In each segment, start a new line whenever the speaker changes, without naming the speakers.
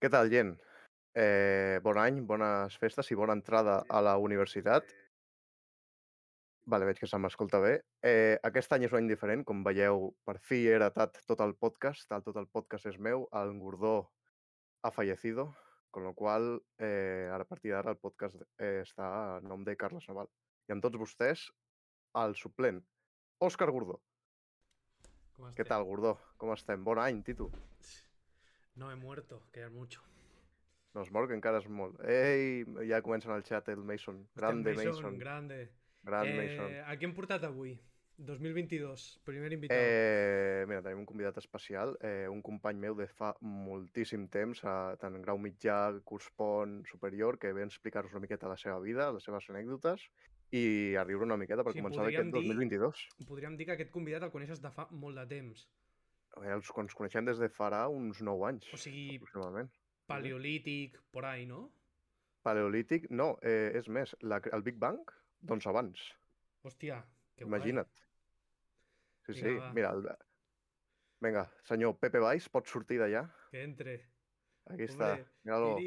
Què tal, gent? Eh, bon any, bones festes i bona entrada a la universitat. Vale, veig que se m'escolta bé. Eh, aquest any és un any diferent, com veieu, per fi he heretat tot el podcast, el, tot el podcast és meu, el Gordó ha fallecido, con lo qual, eh, a la partir d'ara el podcast eh, està a nom de Carles Naval. I amb tots vostès, el suplent, Òscar Gordó.
¿Cómo
Què
estés?
tal, Gordó? Com estem? Bon any, Tito.
No he muerto, quedar mucho.
No es mor, que encara és molt. Ei, ja comencen al xat el Mason. Grande
Hòstia,
Mason.
Grande.
Gran
eh,
Mason.
A qui hem portat avui? 2022, primer invitat.
Eh, mira, tenim un convidat especial, eh, un company meu de fa moltíssim temps, a, tant en grau mitjà, curs pont, superior, que ve a explicar-nos una miqueta la seva vida, les seves anècdotes, i a riure una miqueta per
Sí,
començar
podríem
aquest
dir-
2022.
Podríem dir que aquest convidat el coneixes de fa molt de temps.
a veure, Eh, els ens coneixem des de farà uns 9 anys,
O sigui,
aproximadament.
paleolític, por ahí, ¿no?
Paleolític, no, eh, és més, la, cre- el Big Bang, doncs abans,
Hostia, qué guay.
imagina't. Sí,
Vinga,
sí,
va.
mira, el... Vinga, senyor Pepe Valls, pot sortir d'allà?
Que entre.
Aquí està,
Hombre,
mira-lo.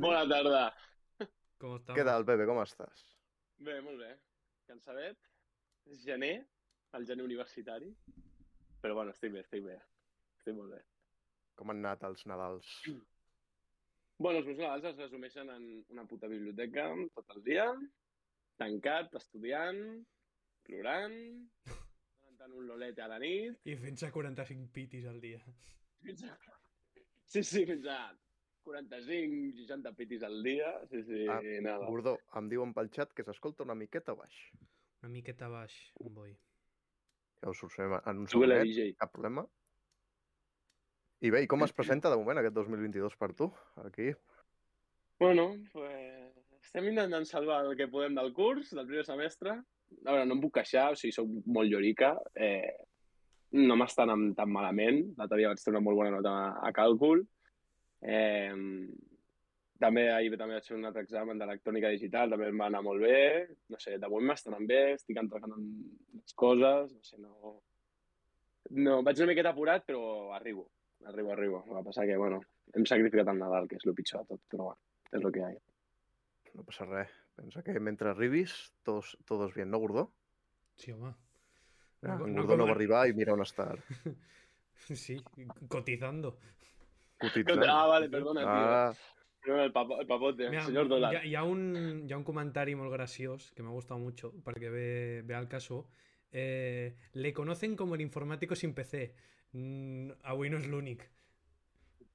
Bona tarda.
¿Cómo estamos?
Què tal, Pepe, com estàs?
Bé, molt bé. Cansadet. És gener, el gener universitari. Però bueno, estic bé, estic bé. Estic molt bé.
Com han anat els Nadals?
Bueno, els meus Nadals es resumeixen en una puta biblioteca tot el dia, tancat, estudiant, plorant, donant un lolete a la nit,
I fins a 45 pitis al dia.
fins a... Sí, sí, fins a 45, 60 pitis al dia, sí, sí,
Ah,
nada.
Bordó, em diuen pel xat que s'escolta una miqueta baix.
Una miqueta baix, em vull.
Ja ho solucionem en un
Sube la
segonet,
DJ.
cap problema. I bé, i com es presenta de moment aquest 2022 per tu? Aquí,
Bueno, pues estem intentant salvar el que podem del curs, del primer semestre. A veure, no em puc queixar, o sigui, soc molt llorica. Eh, no m'estan anant tan malament. L'altre dia vaig treure una molt bona nota a, a càlcul. Eh, també ahir també vaig fer un altre examen d'electrònica digital, també em va anar molt bé. No sé, de moment m'estan anant bé, estic entregant en les coses, no sé, no... No, vaig una miqueta apurat, però arribo. Arribo, arribo. El que passa que, bueno, hem sacrificat el Nadal, que és el pitjor de tot, però bueno, és el que hi ha.
no passa res. Pensa que mentre arribis, tots, todos bien, no, Gordó?
Sí, home.
No,
co-
en Gordó Ah, no
com
va
en-
arribar i mira on està.
Sí, cotizando.
cotitzant.
Ah, vale, perdona, ah.
Ah,
tio. No, El, papo, el papote, el
Mira,
senyor Dólar.
hi, ha, hi, ha un, hi ha un comentari molt graciós que me ha gustado mucho perquè ve, ve al caso. Eh, le conocen como el informático sin PC. Mm, avui no és l'únic.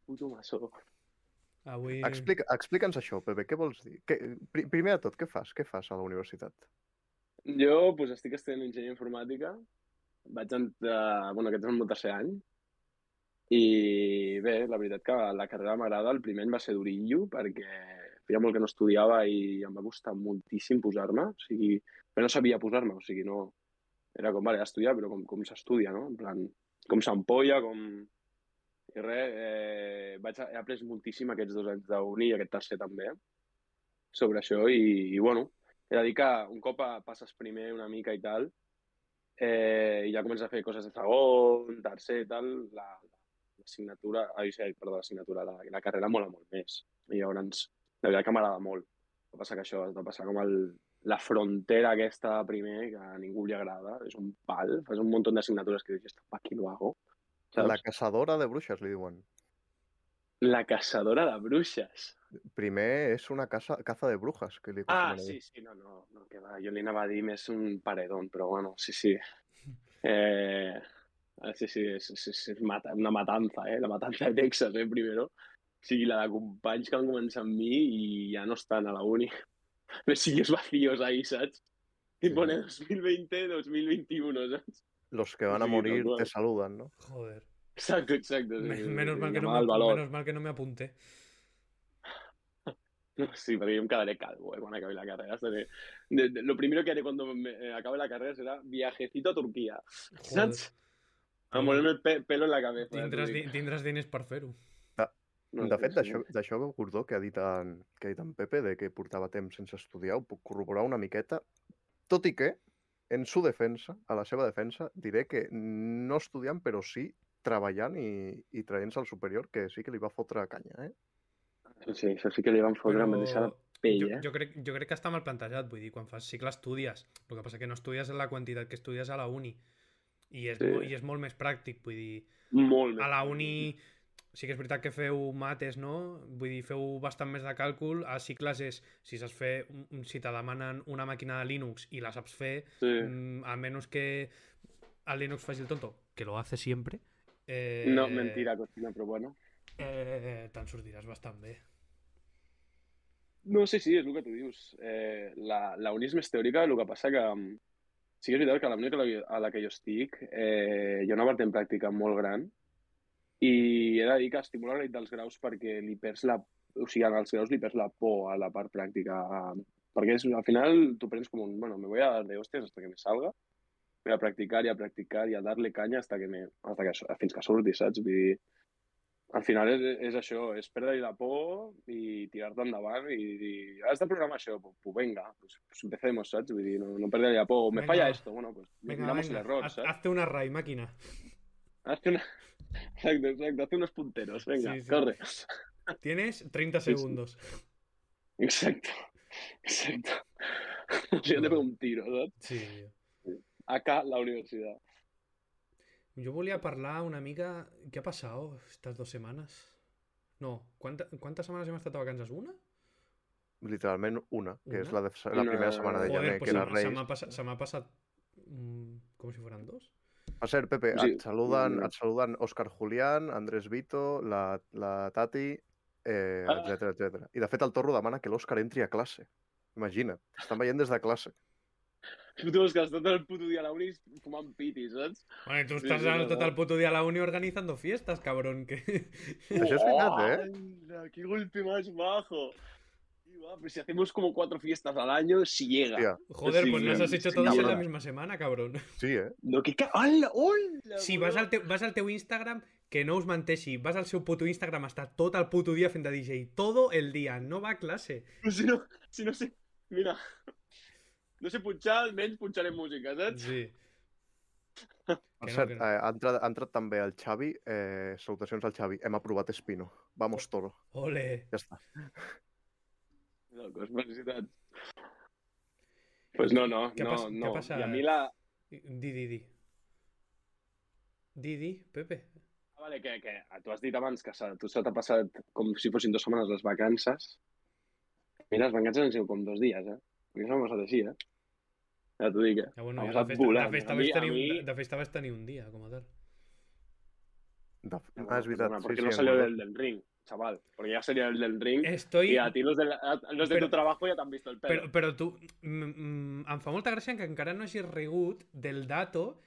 Puto maçó.
Avui...
Ah, explica, explica'ns això, Pepe, què vols dir? Què, pri, primer de tot, què fas? Què fas a la universitat?
Jo, doncs, estic estudiant enginyeria informàtica. Vaig entrar... Bueno, aquest és el meu tercer any. I bé, la veritat que la carrera m'agrada. El primer any va ser durillo perquè feia molt que no estudiava i em va costar moltíssim posar-me. O sigui, però no sabia posar-me. O sigui, no... Era com, vale, estudiar, però com, com s'estudia, no? En plan, com s'ampolla, com... I res, eh, vaig, he après moltíssim aquests dos anys d'uni i aquest tercer també sobre això i, i bueno, He de dir que un cop eh, passes primer una mica i tal, eh, i ja comences a fer coses de segon, tercer i tal, la, l'assignatura, ai, sí, perdó, l'assignatura, la, la carrera mola molt més. I llavors, la veritat que m'agrada molt. El que passa que això has de passar com el, la frontera aquesta primer, que a ningú li agrada, és un pal, fas un munt d'assignatures que dius, "Esta pa qui lo hago? Saps?
La caçadora de bruixes, li diuen.
la caçadora de bruixes.
Primer és una caça, caza de brujas, que li
Ah,
acostumen a dir.
sí, sí, no, no, no, que va, jo li anava a dir més un paredón, però bueno, sí, sí. Eh, ah, sí, sí, és, és, és, és mata, una matanza, eh? La matanza de Texas, eh, primero. O sigui, la de companys que van començar amb mi i ja no estan a la uni. Mesillos vacíos ahí, saps? I
Sí.
pone 2020, 2021, saps?
Los que van a
Sí, tal
morir te
qual.
saludan, no?
Joder.
Exacte, exacte. sí,
Me-
sí,
Menos
sí,
mal que no
llamada al
me,
valor.
menos mal que no me apunté.
No, sí, porque yo me quedaré calvo eh, cuando acabe la carrera. Seré- de- de- lo primero que haré cuando me, eh, acabe la carrera será viajecito a Turquía.
Joder.
¿Sabes? A ponerme el pe- pelo en la cabeza. ya Ah, te
Tindràs,
digo.
Ah. di- tindràs diners per fer-ho.
No,
de
sí,
fet,
sí.
d'això, d'això que Gordó, que ha, dit en, que ha dit en Pepe, de que portava temps sense estudiar, ho puc corroborar una miqueta, tot i que, en su defensa, a la seva defensa, diré que no estudiant, però sí treballant i, i traient-se al superior, que sí que li va fotre canya, eh?
Sí, això sí que li van fotre
Però
una mateixa
jo,
pell, eh?
jo, crec, jo crec que està mal plantejat, vull dir, quan fas cicle estudies. El que passa que no estudies en la quantitat que estudies a la uni. I és,
Sí.
mo- i és molt més pràctic, vull dir,
Molt bé.
a la uni sí que és veritat que feu mates, no? Vull dir, feu bastant més de càlcul. A cicles és, si saps fer, un- un- si te demanen una màquina de Linux i la saps fer,
Sí.
mm, a menos que a Linux faci el tonto, que lo hace siempre, eh,
No, mentira, cocina, però bueno.
eh, te'n sortiràs bastant bé.
No, sí, sí, és el que tu dius. Eh, la, la uni és més teòrica, el que passa que... mm, Sí que és veritat que la uni a la, a la que jo estic eh, hi ha una part en pràctica molt gran i he de dir que estimula la nit dels graus perquè li perds la... O sigui, en els graus li perds la por a la part pràctica. Perquè és, al final tu prens com un... Bueno, me voy a dar de hostias hasta que me salga i a practicar i a practicar i a dar-li canya hasta que me, hasta que, fins que surti, saps? Vull dir, al final és, és això, és perdre-li la por i tirar-te endavant i dir, "Ah, has de programar això, pues, pues venga, pues, pues empecemos, saps? Vull dir, no, no perdre-li la por, me
Venga.
falla esto, bueno, pues
Venga,
miramos
venga,
el error,
haz-
saps?
hazte una RAI, máquina.
Hazte una... Exacte, exacte, hazte unos punteros, venga,
Sí, sí.
corre.
Tienes 30
Sí, sí.
segundos.
Exacto, exacto. Yo te pego un tiro, ¿no?
Sí, tio.
Acá la universidad.
Jo volia parlar una mica... Què ha passat estas dos setmanes? No, quanta, quantes setmanes hem estat de vacances? Una?
Literalment una, que és
Una?
la, de, la
Una-
primera setmana de
Joder,
gener,
pues
que
se,
era
m'ha- se
Reis.
m'ha passat, se m'ha passat mm, com si foren dos.
Per cert, Pepe,
Sí,
et saluden,
mm.
et saluden Òscar Julián, Andrés Vito, la, la Tati, eh,
Ah.
etc etc. I de fet el Torro demana que l'Òscar entri a classe. Imagina't, estan veient des de classe.
Tu has gastat tot el puto dia a la uni fumant pitis, saps?
Bueno, tu
Sí,
estàs
sí,
al-
no,
tot
no.
el puto dia a la uni organitzant fiestas, cabrón. Que...
Això és veritat, eh?
¡Hala! ¡Oh, ¡Qué golpe más bajo! Y va, Pero si hacemos como cuatro fiestas al año, si llega.
Hòstia,
Joder,
Sí,
pues las has
sí,
hecho
sí,
todas en la
cabrón.
misma semana, cabrón.
sí, eh?
No, que ca... ¡Hala! ¡Hola!
Si
boludo!
vas al, teu, vas al teu Instagram, que no us menteixi, vas al seu puto Instagram, està tot el puto dia fent de DJ, todo el dia, no va a classe.
Però Si no, si no sé... Mira... No sé punxar, almenys punxaré música, saps?
Sí.
Per
Que no,
cert,
que no.
eh, ha, entrat, ha entrat també el Xavi. Eh, salutacions al Xavi. Hem aprovat Espino. Vamos, toro.
Ole.
Ja està.
Locos, felicitats. Pues no, no,
Què ha
no,
pas- què ha
no.
passat?
I a mi la...
Di, di, di. Di, di, Pepe.
Ah, Vale, que, que tu has dit abans que se, tu se t'ha passat com si fossin dues setmanes les vacances. Mira, les vacances han sigut com dos dies, eh? Perquè s'ha passat així, eh? Ja t'ho dic, eh?
Ja, bueno,
Ha
jo de
passat
festa,
volant.
de festa,
A
vaig
mi- a
tenir, un-
mi-
de festa vaig tenir un dia, com a tal.
De... Ah, és veritat.
Perdona,
Sí,
Porque
sí,
no
em
salió
acuerdo.
del, del ring, chaval. Porque ya sería el del ring.
Estoy...
Y a ti los de, la- a- los de
Pero-
tu trabajo ya te han visto el pelo.
Eh, Però, però tu... mm, mm, Em fa molta gràcia que encara no hagis rigut del dato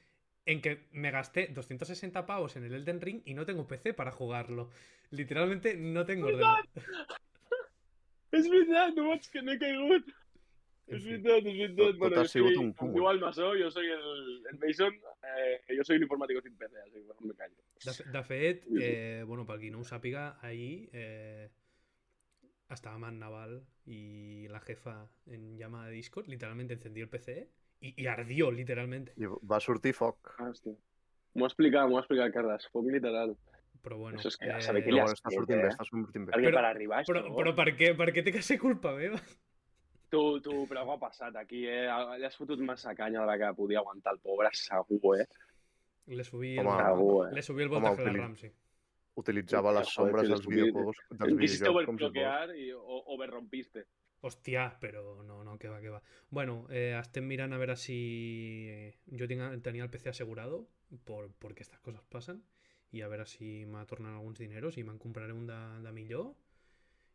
en que me gasté 260 pavos en el Elden Ring y no tengo PC para jugarlo. Literalmente no tengo
Pues
ordenador.
Es verdad, no es que no he caído.
En
Es
fin.
verdad, es verdad.
Tot-
bueno,
tot ha
yo
sigut
soy,
un cúmul.
igual Masó, yo soy el, el Mason, eh, yo soy el informático sin PC, así que bueno, me callo.
De, fe- de fet,
Sí, sí.
eh, bueno, per qui no ho sàpiga, ahir eh, estàvem en Naval i la jefa en llamada de Discord, literalmente encendí el PC y, y ardió, literalmente.
I va sortir foc.
Ah, hòstia. M'ho ha explicat, m'ho ha explicat, Carles. Foc literal.
Però bueno...
Això és que ja
eh,
sabe que
Però
però,
li ha-
bueno, està
escrit,
sortint
eh?
bé, està sortint bé.
Perquè
Però-
per arribar a això...
però per què? Per què té que ser culpa meva?
Tu, tu, però algo ha passat aquí, eh? Li has fotut massa canya de la que podia aguantar el pobre, segur, eh?
Le subí el,
Home,
Segur, eh?
le subí el
home,
voltaje a la
utili-
Ramsey.
Utilitzava les
Joder,
sombres
tio,
dels
estúpid.
videojocs, dels
Quisiste
videojocs com si fos.
overcloquear i o- overrompiste.
Hostia, pero no, no, que va, que va. Bueno, eh, estén mirando a ver si eh, yo tenga- tenía el PC asegurado por, porque estas cosas pasan y a ver si me tornan algunos dineros y me compraré un da, da millor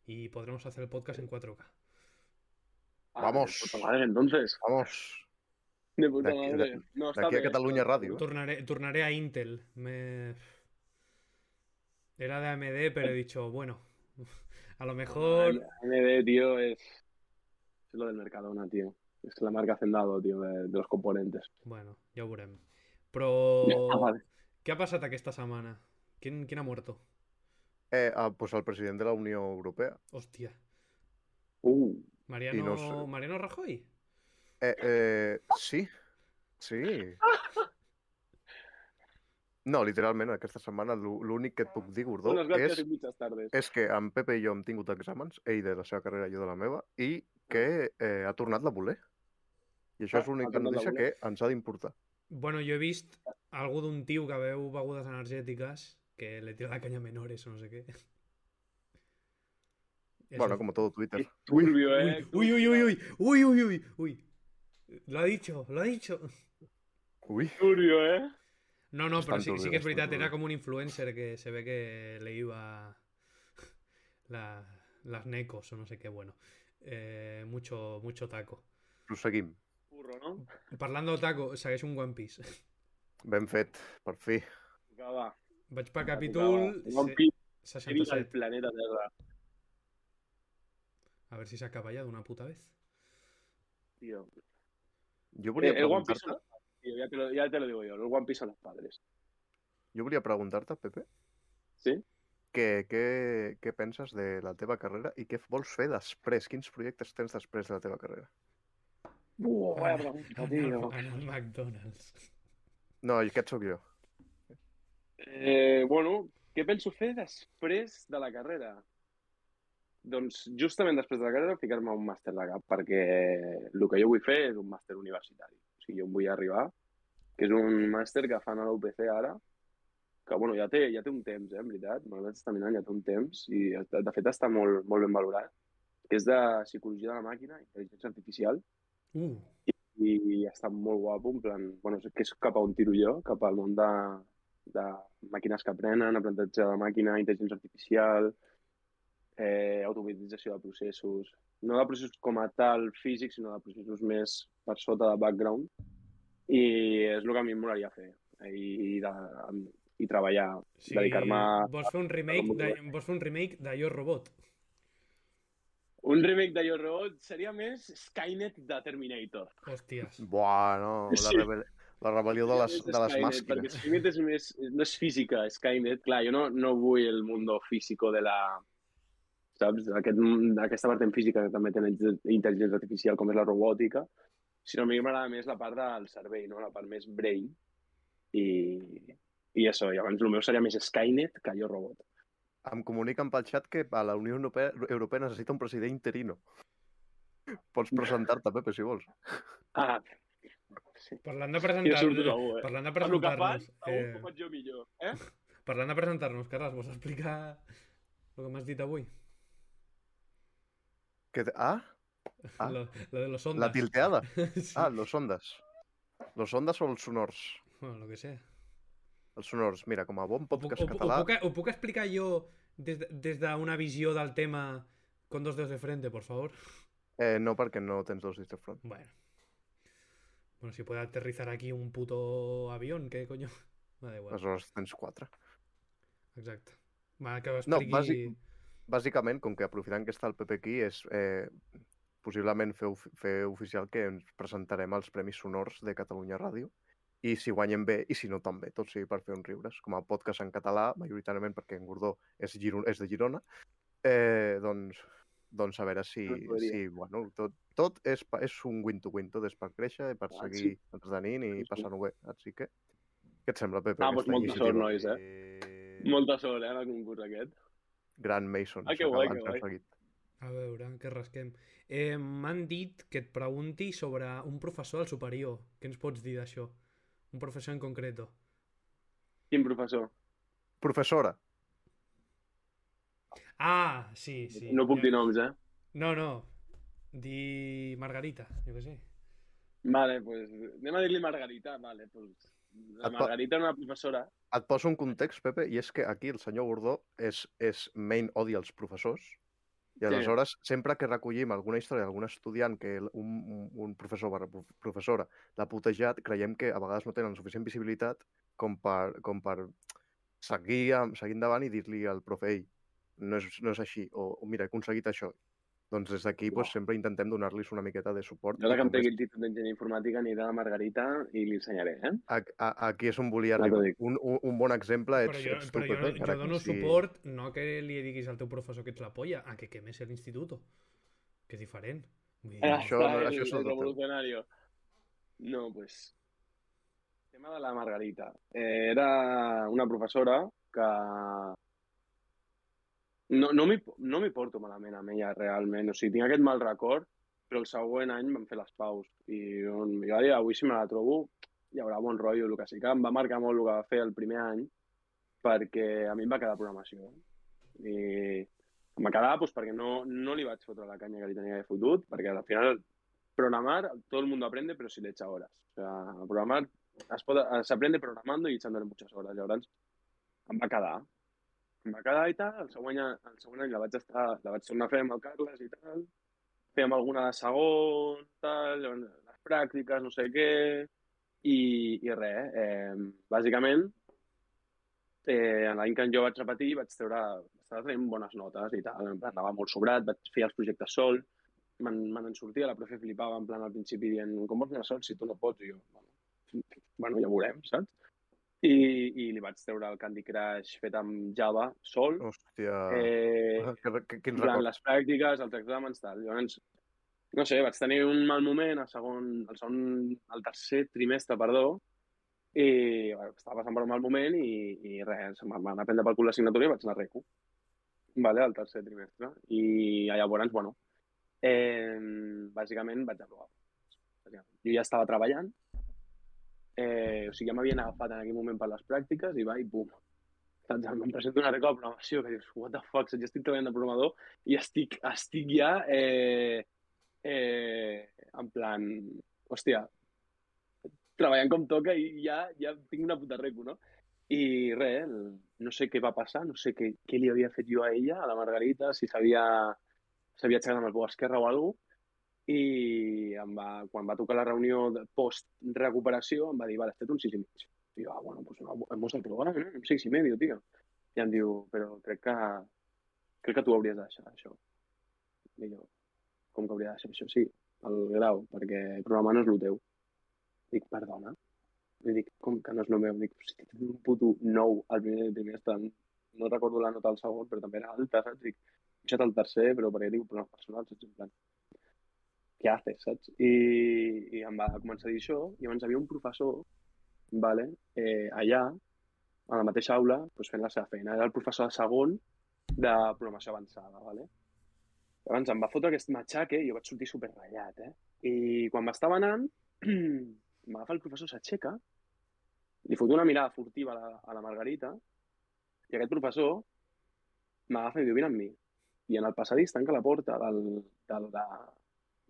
y podremos hacer el podcast en 4K.
Vamos.
Ah, De puta madre, entonces.
Vamos,
De puta
D'aquí-
madre. No, està
d'aquí a
bé.
Catalunya Ràdio. eh?
Tornaré, tornaré a Intel. Me... Era de AMD, pero he dicho, bueno, a lo mejor...
AMD, tío, es... Es lo del Mercadona, tío. Es la marca Hacendado, tío, de, de los componentes.
Bueno, ya ho veurem. Però...
Ah, vale.
¿Qué ha pasado esta semana? ¿Quién, quién ha muerto?
Eh, ah, pues el president de la Unió Europea.
Hostia.
Uh,
Mariano,
no sé.
Mariano Rajoy.
Eh, eh, sí, sí. No, literalment, aquesta setmana l'ú- l'únic que et puc dir, Gordó,
unas gracias
és,
y muchas tardes.
és que en Pepe i jo hem tingut exàmens, ell de la seva carrera i jo de la meva, i que eh, ha tornat la voler. I això
Ah,
és l'única
ha tornat la
notícia
voler.
que ens ha d'importar.
Bueno, yo he visto algo de un tío que veo begudas energéticas que le tira la caña a menores o no sé qué. Eso.
Bueno, como todo Twitter.
Turbio, eh.
Uy, uy, uy, uy, uy, uy, uy, uy, uy. Lo ha dicho, lo ha dicho.
Uy,
Turbio, eh.
No, no, pero
Bastante
sí, sí
horrible,
que es
bastante
verdad, era
horrible.
como un influencer que se ve que le iba la- las necos o no sé qué, bueno. Eh, mucho, mucho taco.
proseguim.
Burro, no?
Parlando de taco, segueix un One Piece.
Ben fet, per fi.
Acaba.
Vaig per capítol se-
One Piece, vida al
67.
planeta Terra.
A ver si se acaba ya de una puta vez.
Tío.
Jo volia
Eh, el One Piece
preguntar-te...
tío, ya te, lo, ya te lo digo yo, los One Piece son los padres.
Jo volia preguntar-te, Pepe,
Sí?
que, què, què penses de la teva carrera i què vols fer després? Quins projectes tens després de la teva carrera?
Buah,
Ana-
vaya pregunta,
Ana-
Ah, tío.
Ana McDonald's.
No, i aquest sóc jo.
Eh, bueno, què penso fer després de la carrera? Doncs justament després de la carrera ficar-me un màster de cap, perquè el que jo vull fer és un màster universitari. O sigui, jo em vull arribar, que és un màster que fan a la UPC ara, que bueno, ja té, ja té un temps, eh, en veritat, me'l vaig estar mirant, ja té un temps, i de fet està molt, molt ben valorat, que és de psicologia de la màquina, intel·ligència artificial,
Uh,
i està molt guapo, en plan, bueno, és que és cap a on tiro jo, cap al món de, de màquines que aprenen, aprenentatge de màquina, intel·ligència artificial, eh, automatització de processos, no de processos com a tal físics, sinó de processos més per sota de background, i és el que a mi em molaria fer, eh, i, de, i treballar.
sí,
Dedicar-me a-
vols fer un remake de, vols fer un remake de Yo Robot.
Un remake de Yo Robot seria més Skynet de Terminator.
Hostias.
Buah, no, la,
Sí.
rebel... la rebel·lió de les,
Skynet,
de les
Perquè
màquines.
Skynet és més, no és física, Skynet, clar, jo no, no vull el mundo físico de la... Saps? Aquest, aquesta part en física que també té la intel·ligència artificial, com és la robòtica, sinó a mi m'agrada més la part del cervell, no? la part més brain. I, i això, i llavors el meu seria més Skynet que jo robot.
Em comuniquen pel xat que a la Unió Europea, Europea necessita un president interino. Pots presentar-te, Pepe, si vols.
Ah,
Parlant de
jo surto
presentar-nos,
segur, eh?
parlant de
Amb el que fan,
presentar-nos,
segur que ho
eh,
faig jo millor. Eh?
parlant de presentar-nos, Carles, vols explicar el que m'has dit avui?
Que... Ah, Ah.
Lo, lo de los ondas.
la tilteada.
Sí.
Ah, los ondas. Los ondas o els sonors?
Bueno, lo que sea.
Els sonors, mira, com a bon
Ho puc,
podcast
ho, pu- ho
català...
puc, ho puc explicar jo des, de- des d'una visió del tema con dos dedos de frente, por favor?
Eh, no, perquè no tens dos dits de front.
Bueno. Bueno, si puede aterrizar aquí un puto avión, ¿qué coño? Me da igual.
Aleshores tens quatre.
Exacto. Va, que ho
No,
expliqui...
bàsic- Bàsicament, com que aprofitant que està el PP aquí, és eh, possiblement fer, of- fer oficial que ens presentarem als Premis Sonors de Catalunya Ràdio i si guanyem bé i si no també, tot sigui per fer uns riures. Com a podcast en català, majoritàriament perquè en Gordó és, Giro és de Girona, eh, doncs, doncs a veure si,
No et podria.
si bueno, tot, tot és, pa- és un win-to-win, tot és per créixer, i per
Ah,
seguir entretenint i
Sí, sí.
passant-ho bé. Així que, què et sembla, Pepe?
Ah, doncs
aquesta
molta sort,
iniciativa?
nois, eh? Molta sort, eh, en el concurs aquest.
Gran Mason.
Ah, que
això
guai,
abans
que
hem
guai.
seguit.
A veure, què rasquem. Eh, M'han dit que et pregunti sobre un professor al superior. Què ens pots dir d'això? Un professor en concreto.
Quin professor?
Professora,
Ah, sí, sí.
No puc
ja.
dir noms, eh?
No, no. Di Margarita, jo què sé.
Vale, pues anem a dir-li Margarita, vale, pues la
Et po-
Margarita era una professora.
et poso un context, Pepe, i és que aquí el senyor Gordó és, és main odi als professors, i aleshores, sempre que recollim alguna història d'algun estudiant que el- un, un- un professor barra prof- professora l'ha putejat, creiem que a vegades no tenen suficient visibilitat com per, com per seguir, amb- seguir endavant i dir-li al profe, ei, no és, no és així, o "O mira, he aconseguit això. Doncs des d'aquí
Uau.
pues, sempre intentem donar-los una miqueta de suport.
Jo ara
i
que em
com és-
pegui el títol d'enginyer informàtica aniré a la Margarita i li ensenyaré, eh?
a, a, aquí és on volia
Ja t'ho
arribar.
dic.
Un, un, un bon exemple Ah, ets,
Però jo,
ets tu,
però jo,
Pepe,
jo
encara eh? que
dono
sigui-
suport no a que li diguis al teu professor que ets la polla, a que quemes l'institut. Que és diferent. Vull dir,
Ah,
això-
clar,
no,
el,
això és
el
otro tema.
revolucionario. No, pues... El tema de la Margarita. Eh, era una professora que... No, no m'hi no m'hi porto malament amb ella, realment. O sigui, tinc aquest mal record, però el següent any vam fer les paus. I on, jo dir, avui si me la trobo hi haurà bon rotllo. El que sí que em va marcar molt el que va fer el primer any, perquè a mi em va quedar programació. I em va quedar doncs, perquè no, no li vaig fotre la canya que li tenia de fotut, perquè al final programar, todo el mundo aprende, pero si le echa horas. O sea, programar es pot, se aprende programando y echándole muchas horas. Llavors, em va quedar. Em va quedar i tal, el següent, any- el següent any la vaig, estar, la vaig tornar a fer amb el Carles i tal, fèiem alguna de segon, tal, llavors, les pràctiques, no sé què, i, i res, eh, bàsicament, eh, en l'any que jo vaig repetir vaig treure, estava traient bones notes i tal, en plan, anava molt sobrat, vaig fer els projectes sol, me'n me n'en sortia, la profe flipava en plan al principi dient, com vols anar sol si tu no pots? I jo, bueno, bueno, ja ho veurem, saps? I, I li vaig treure el Candy Crush fet amb Java sol.
Hòstia. Ah,
Eh,
Que, que, quin
durant
record.
les pràctiques, el tractamen, tal. Llavors, no sé, vaig tenir un mal moment al segon, al segon, al tercer trimestre, perdó, i bueno, estava passant per un mal moment i, i res, em van anar a prendre pel cul l'assignatura i vaig anar a RECU, vale, al tercer trimestre. I llavors, bueno, eh, bàsicament vaig aprovar. Bàsicament. Jo ja estava treballant, eh, o sigui, ja m'havien agafat en aquell moment per les pràctiques i va i bum, saps? Em presento una regla de programació que dius, what the fuck, saps? jo estic treballant de programador i estic, estic ja eh, eh, en plan, hòstia, treballant com toca i ja, ja tinc una puta reco, no? I res, el- no sé què va passar, no sé què, què li havia fet jo a ella, a la Margarita, si s'havia s'havia aixecat amb el peu esquerre o alguna i em va, quan va tocar la reunió de post-recuperació em va dir, vale, has fet un 6 i mig. I jo, ah, bueno, pues no, hemos de probar, eh? un 6 i medio, tio. I em diu, però crec que, crec que tu hauries de deixar això. I jo, com que hauria de deixar això? Sí, el grau, perquè programar no és el teu. Dic, perdona? I dic, com que no és el meu? Dic, si tinc un puto 9 al primer trimestre, no recordo la nota al segon, però també era alta, saps? Dic, he deixat el tercer, però perquè tinc problemes personals, saps? En plan, què haces, saps? I, I em va començar a dir això, i llavors hi havia un professor, vale, eh, allà, a la mateixa aula, doncs fent la seva feina. Era el professor de segon de programació avançada, vale? Llavors em va fotre aquest matxaque i jo vaig sortir super ratllat, eh? I quan m'estava anant, m'agafa el professor, s'aixeca, li fot una mirada furtiva a la, a la Margarita, i aquest professor m'agafa i diu, vine amb mi. I en el passadís tanca la porta del, del, de,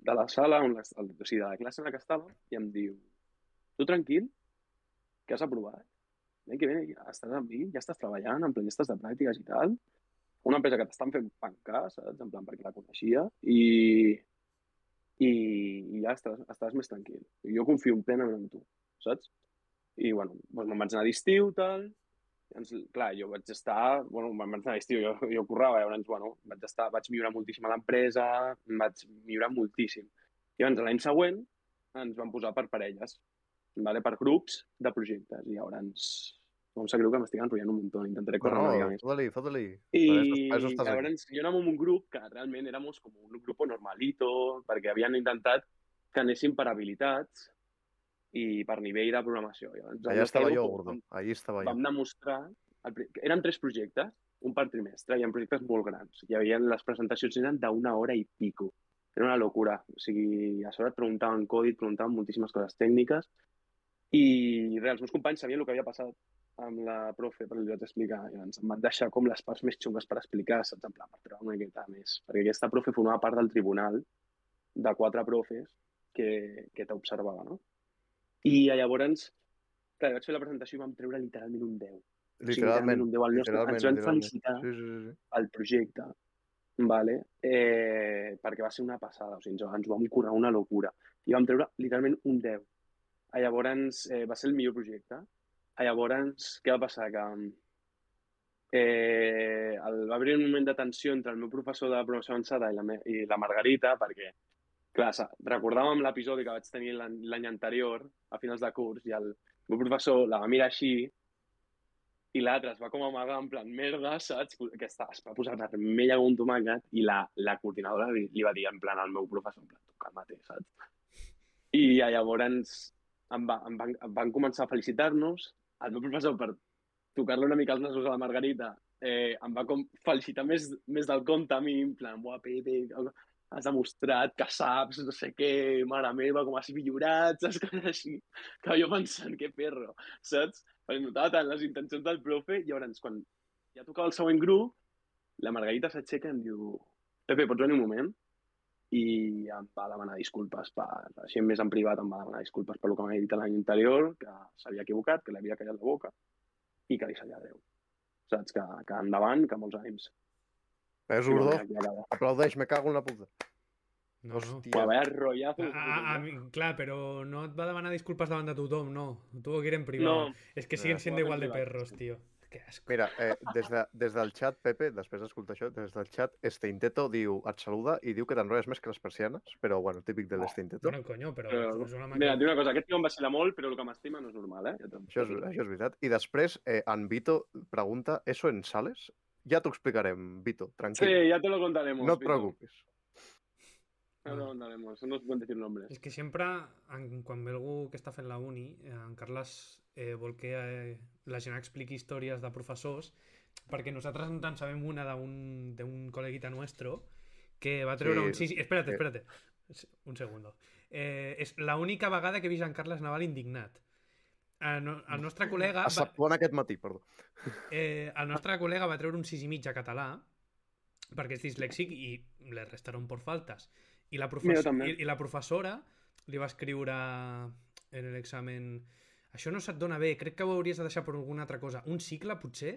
de la sala, on les, el, o sigui, de la classe en la que estava, i em diu, tu tranquil, que has aprovat, ven que ven, estàs amb mi, ja estàs treballant, en plan, ja estàs de pràctiques i tal, una empresa que t'estan fent pencar, saps? En plan, perquè la coneixia, i, i, i ja estàs, estàs més tranquil. I jo confio plenament en tu, saps? I, bueno, doncs me'n vaig anar d'estiu, tal, doncs, clar, jo vaig estar, bueno, me'n vaig anar a l'estiu, jo, jo currava, llavors, bueno, vaig, estar, vaig millorar moltíssim a l'empresa, vaig millorar moltíssim. I llavors, l'any següent, ens van posar per parelles, vale? per grups de projectes, i llavors, no em sap greu que m'estic enrotllant un muntó, intentaré córrer una mica
Bueno,
més.
fota-li, fota-li.
I
Per això- per això estàs aquí.
llavors jo anàvem amb un grup que realment éramos com un grup normalito, perquè havien intentat que anéssim per habilitats i per nivell de programació. Llavors, el
Allà estava
nostre
jo,
grup
Gordo. Allí estava jo.
vam demostrar... El, pri- eren tres projectes, un per trimestre, i eren projectes molt grans. Hi havia, les presentacions eren d'una hora i pico. Era una locura. O sigui, a sobre et preguntaven codi, et preguntaven moltíssimes coses tècniques, i res, els meus companys sabien el que havia passat amb la profe, però li vaig explicar. I llavors em van deixar com les parts més xungues per explicar, saps? En plan, per treure una miqueta més. Perquè aquesta profe formava part del tribunal de quatre profes que, que t'observava, no? I llavors, clar, vaig fer la presentació i vam treure literalment un 10
Literalment.
literalment
un deu al nostre.
Literalment,
Ens van
literalment.
felicitar
Sí, sí, sí.
el projecte, vale? eh, perquè va ser una passada, o sigui, ens, ens vam currar una locura. I vam treure literalment un 10. A llavors eh, va ser el millor projecte. A llavors, què va passar? Que mm, eh, el, va haver un moment de tensió entre el meu professor de programació avançada i la, me, i la Margarita, perquè clar, sa- recordàvem l'episodi que vaig tenir l'an- l'any anterior, a finals de curs, i el meu professor la va mirar així i l'altre es va com amagar en plan merda, saps? Que està, es va posar vermella com un tomàquet i la, la coordinadora li, li va dir en plan al meu professor, en plan, tu calma-te, saps? I ja llavors em, va, em, van, em van començar a felicitar-nos, el meu professor per tocar-li una mica els nassos a la Margarita eh, em va com felicitar més, més del compte a mi, en plan, buah, Pepe, has demostrat que saps, no sé què, mare meva, com has millorat, saps, coses així. Que jo pensant, que perro, saps? Perquè notava tant les intencions del profe i llavors quan ja tocava el següent grup, la Margarita s'aixeca i em diu Pepe, pots venir un moment? I em va demanar disculpes per, així més en privat, em va demanar disculpes per el que m'havia dit l'any anterior, que s'havia equivocat, que l'havia callat la boca i que li sabia greu. Saps? Que, que endavant, que molts ànims.
Ves,
I
Gordo.
bueno, ja acabava.
Aplaudeix, me cago en la puta.
No, no.
Hòstia.
Bueno, vaya rollazo.
A, a, a Ah, mi- clar, però no et va demanar disculpes davant de tothom, no. Tuvo que ir en privado.
No,
és que
no,
siguen siendo
en
igual de
privat,
perros,
sí.
tío. Que asco.
Mira, eh, des, de, des del xat, Pepe, després d'escoltar això, des del xat, Esteinteto diu, et saluda i diu que t'enrotlles més que les persianes, però bueno, típic
Oh,
de l'Esteinteto.
Bueno, coño, però,
Però-
és una
Mira,
màquina.
et dic una cosa, aquest tio em vacila molt, però el que m'estima no és normal, eh? Ja te'n-
Això, és, això és veritat. I després, eh, en Vito pregunta, ¿eso en sales? Ja t'ho explicarem, Vito,
Sí,
tranquil.
ya te lo contaremos.
no et
Vito.
preocupis.
No te lo contaremos, no os pueden decir nombres.
És que sempre, en, quan ve algú que està fent la uni, eh, en Carles eh, vol que eh, la gent expliqui històries de professors, perquè nosaltres en tant sabem una d'un d'un col·leguita nostre que va treure
Sí,
un... Sí, sí, espérate,
eh.
espérate. Un segundo. Eh, és l'única vegada que he vist en Carles Naval indignat. El, no- el nostre col·lega...
A Sapon aquest matí, perdó.
Eh, el nostre col·lega va treure un 6 i mig a català perquè és dislèxic i le restaron por faltes. I la,
Mira,
profes...
també.
I, I la professora li va escriure en l'examen això no se't dona bé, crec que ho hauries de deixar per alguna altra cosa. Un cicle, potser?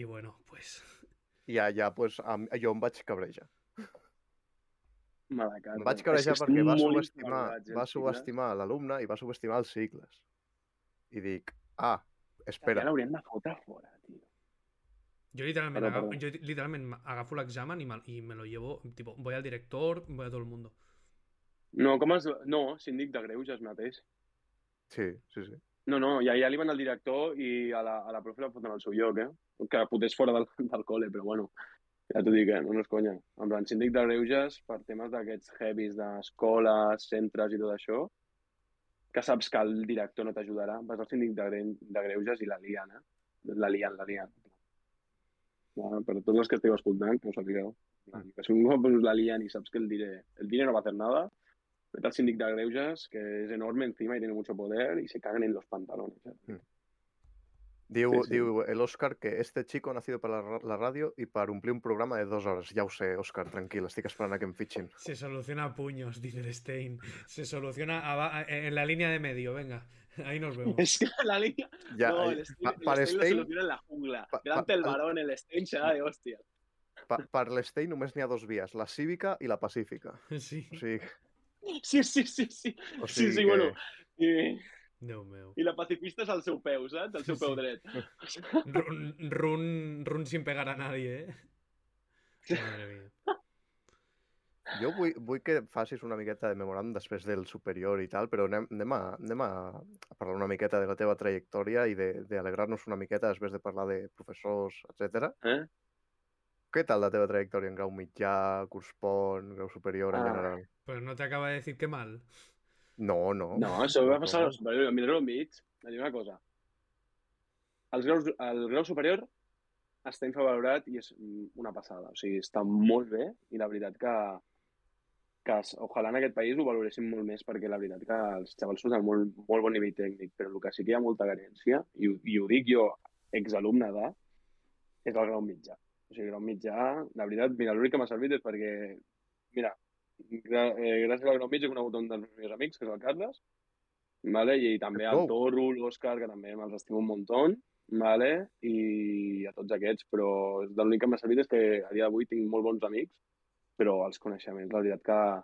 I bueno, pues...
I allà, pues, am- jo em vaig cabrejar.
Malacar.
Em vaig cabrejar perquè va subestimar, va subestimar l'alumne i va subestimar els cicles. I dic, ah,
Espera. Ja
espera,
l'haurien de fotre fora, tio.
Jo literalment,
Perdó,
agafo,
perdó.
jo literalment agafo l'examen i, me- i me lo llevo, tipo, voy al director, voy a todo el mundo.
No, com es... No, síndic de greuges mateix.
sí, sí, sí.
No, no, i allà li van al director i a la, a la profe la foten al seu lloc, eh? Que potser és fora del, del col·le, però bueno. Ja t'ho dic, eh? No, no és conya. En plan, síndic de greuges per temes d'aquests heavies d'escoles, centres i tot això, que saps que el director no t'ajudarà, vas al síndic de, gre de greuges i la lien, eh? La lien, la lien. Bueno, per tots els que esteu escoltant, que ho sapigueu. Que si un cop us la lien i saps que el dire, el dire no va a hacer nada, vete al síndic de greuges, que és enorme encima i tiene mucho poder y se cagan en los pantalones. Eh?
Diu,
Sí, sí.
diu el Òscar que este chico ha nacido per la, ra- la ràdio i per omplir un programa de dues hores. Ja ho sé, Òscar, tranquil, estic esperant a que em fitxin.
Se soluciona a puños, dice Stein. Se soluciona a ba- en la línea de medio, venga. Ahí nos vemos.
Es que la línea...
Ja,
no,
eh,
el Stein,
pa- per
el Stein lo
Stein-
soluciona en la jungla.
pa-
Delante
pa-
del
al-
varón, el Stein se da de hostia.
Pa, per l'Estei només n'hi ha dos vies, la cívica i la pacífica.
Sí.
O sigui,
Sí, sí, sí, sí.
o
Sí,
sigui
sí,
que...
bueno. I,
Déu meu.
I la pacifista és al seu peu, saps? Al seu
Sí,
peu
sí.
dret.
Run, run, run sin pegar a nadie, eh? Madre mía.
Jo vull, vull que facis una miqueta de memoràndum després del superior i tal, però anem, anem, a, anem a a parlar una miqueta de la teva trajectòria i de- d'alegrar-nos una miqueta després de parlar de professors, etc.
Eh?
Què tal la teva trajectòria en grau mitjà, curs pont, grau superior en
Ah.
general?
Pero Pues no te acaba de decir que mal.
No, no.
No, això va
no,
passar
no.
al superior. Mireu enmig. Et diré una cosa. Els graus, el grau superior està infravalorat i és una passada. O sigui, està molt bé i la veritat que, que es- ojalà en aquest país ho valoressin molt més perquè la veritat que els xavals són de molt, molt bon nivell tècnic, però el que sí que hi ha molta carència, i, ho- i ho dic jo, exalumne de, és el grau mitjà. O sigui, el grau mitjà, la veritat, mira, l'únic que m'ha servit és perquè, mira, gra eh, gràcies al grau mitjà he conegut un dels meus amics, que és el Carles, vale? i també
Let's go.
el Torro, l'Òscar, que també me'ls estimo un muntó, vale? i a tots aquests, però l'únic que m'ha servit és que a dia d'avui tinc molt bons amics, però els coneixements, la veritat que,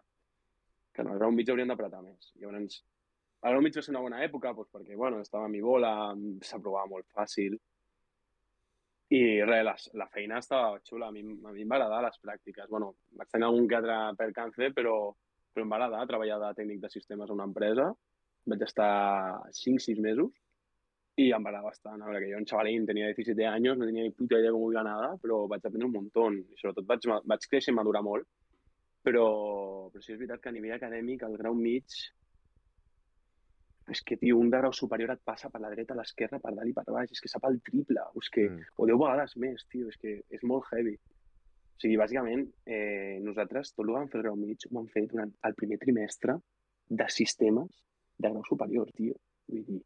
que en el grau mig haurien d'apretar més. Llavors, el grau mig va ser una bona època doncs, perquè bueno, estava a mi bola, s'aprovava molt fàcil, i res, la, la feina estava xula, a mi, a mi em va agradar les pràctiques. Bueno, vaig tenir algun que altre percance, però, però em va agradar treballar de tècnic de sistemes a una empresa. Vaig estar 5-6 mesos i em va agradar bastant. A veure, que jo en xavalín tenia 17 anys, no tenia ni puta idea com ho iba nada, però vaig aprendre un muntó. I sobretot vaig, ma- vaig créixer i madurar molt. Però, però sí és veritat que a nivell acadèmic, el grau mig... És que, tio, un de grau superior et passa per la dreta, a l'esquerra, per dalt i per baix. És que sap el triple. O és que,
Mm.
o deu vegades més, tio, és que és molt heavy. O sigui, bàsicament, eh, nosaltres tot el que vam fer al grau mig ho vam fer durant el primer trimestre de sistemes de grau superior, tio. Vull dir,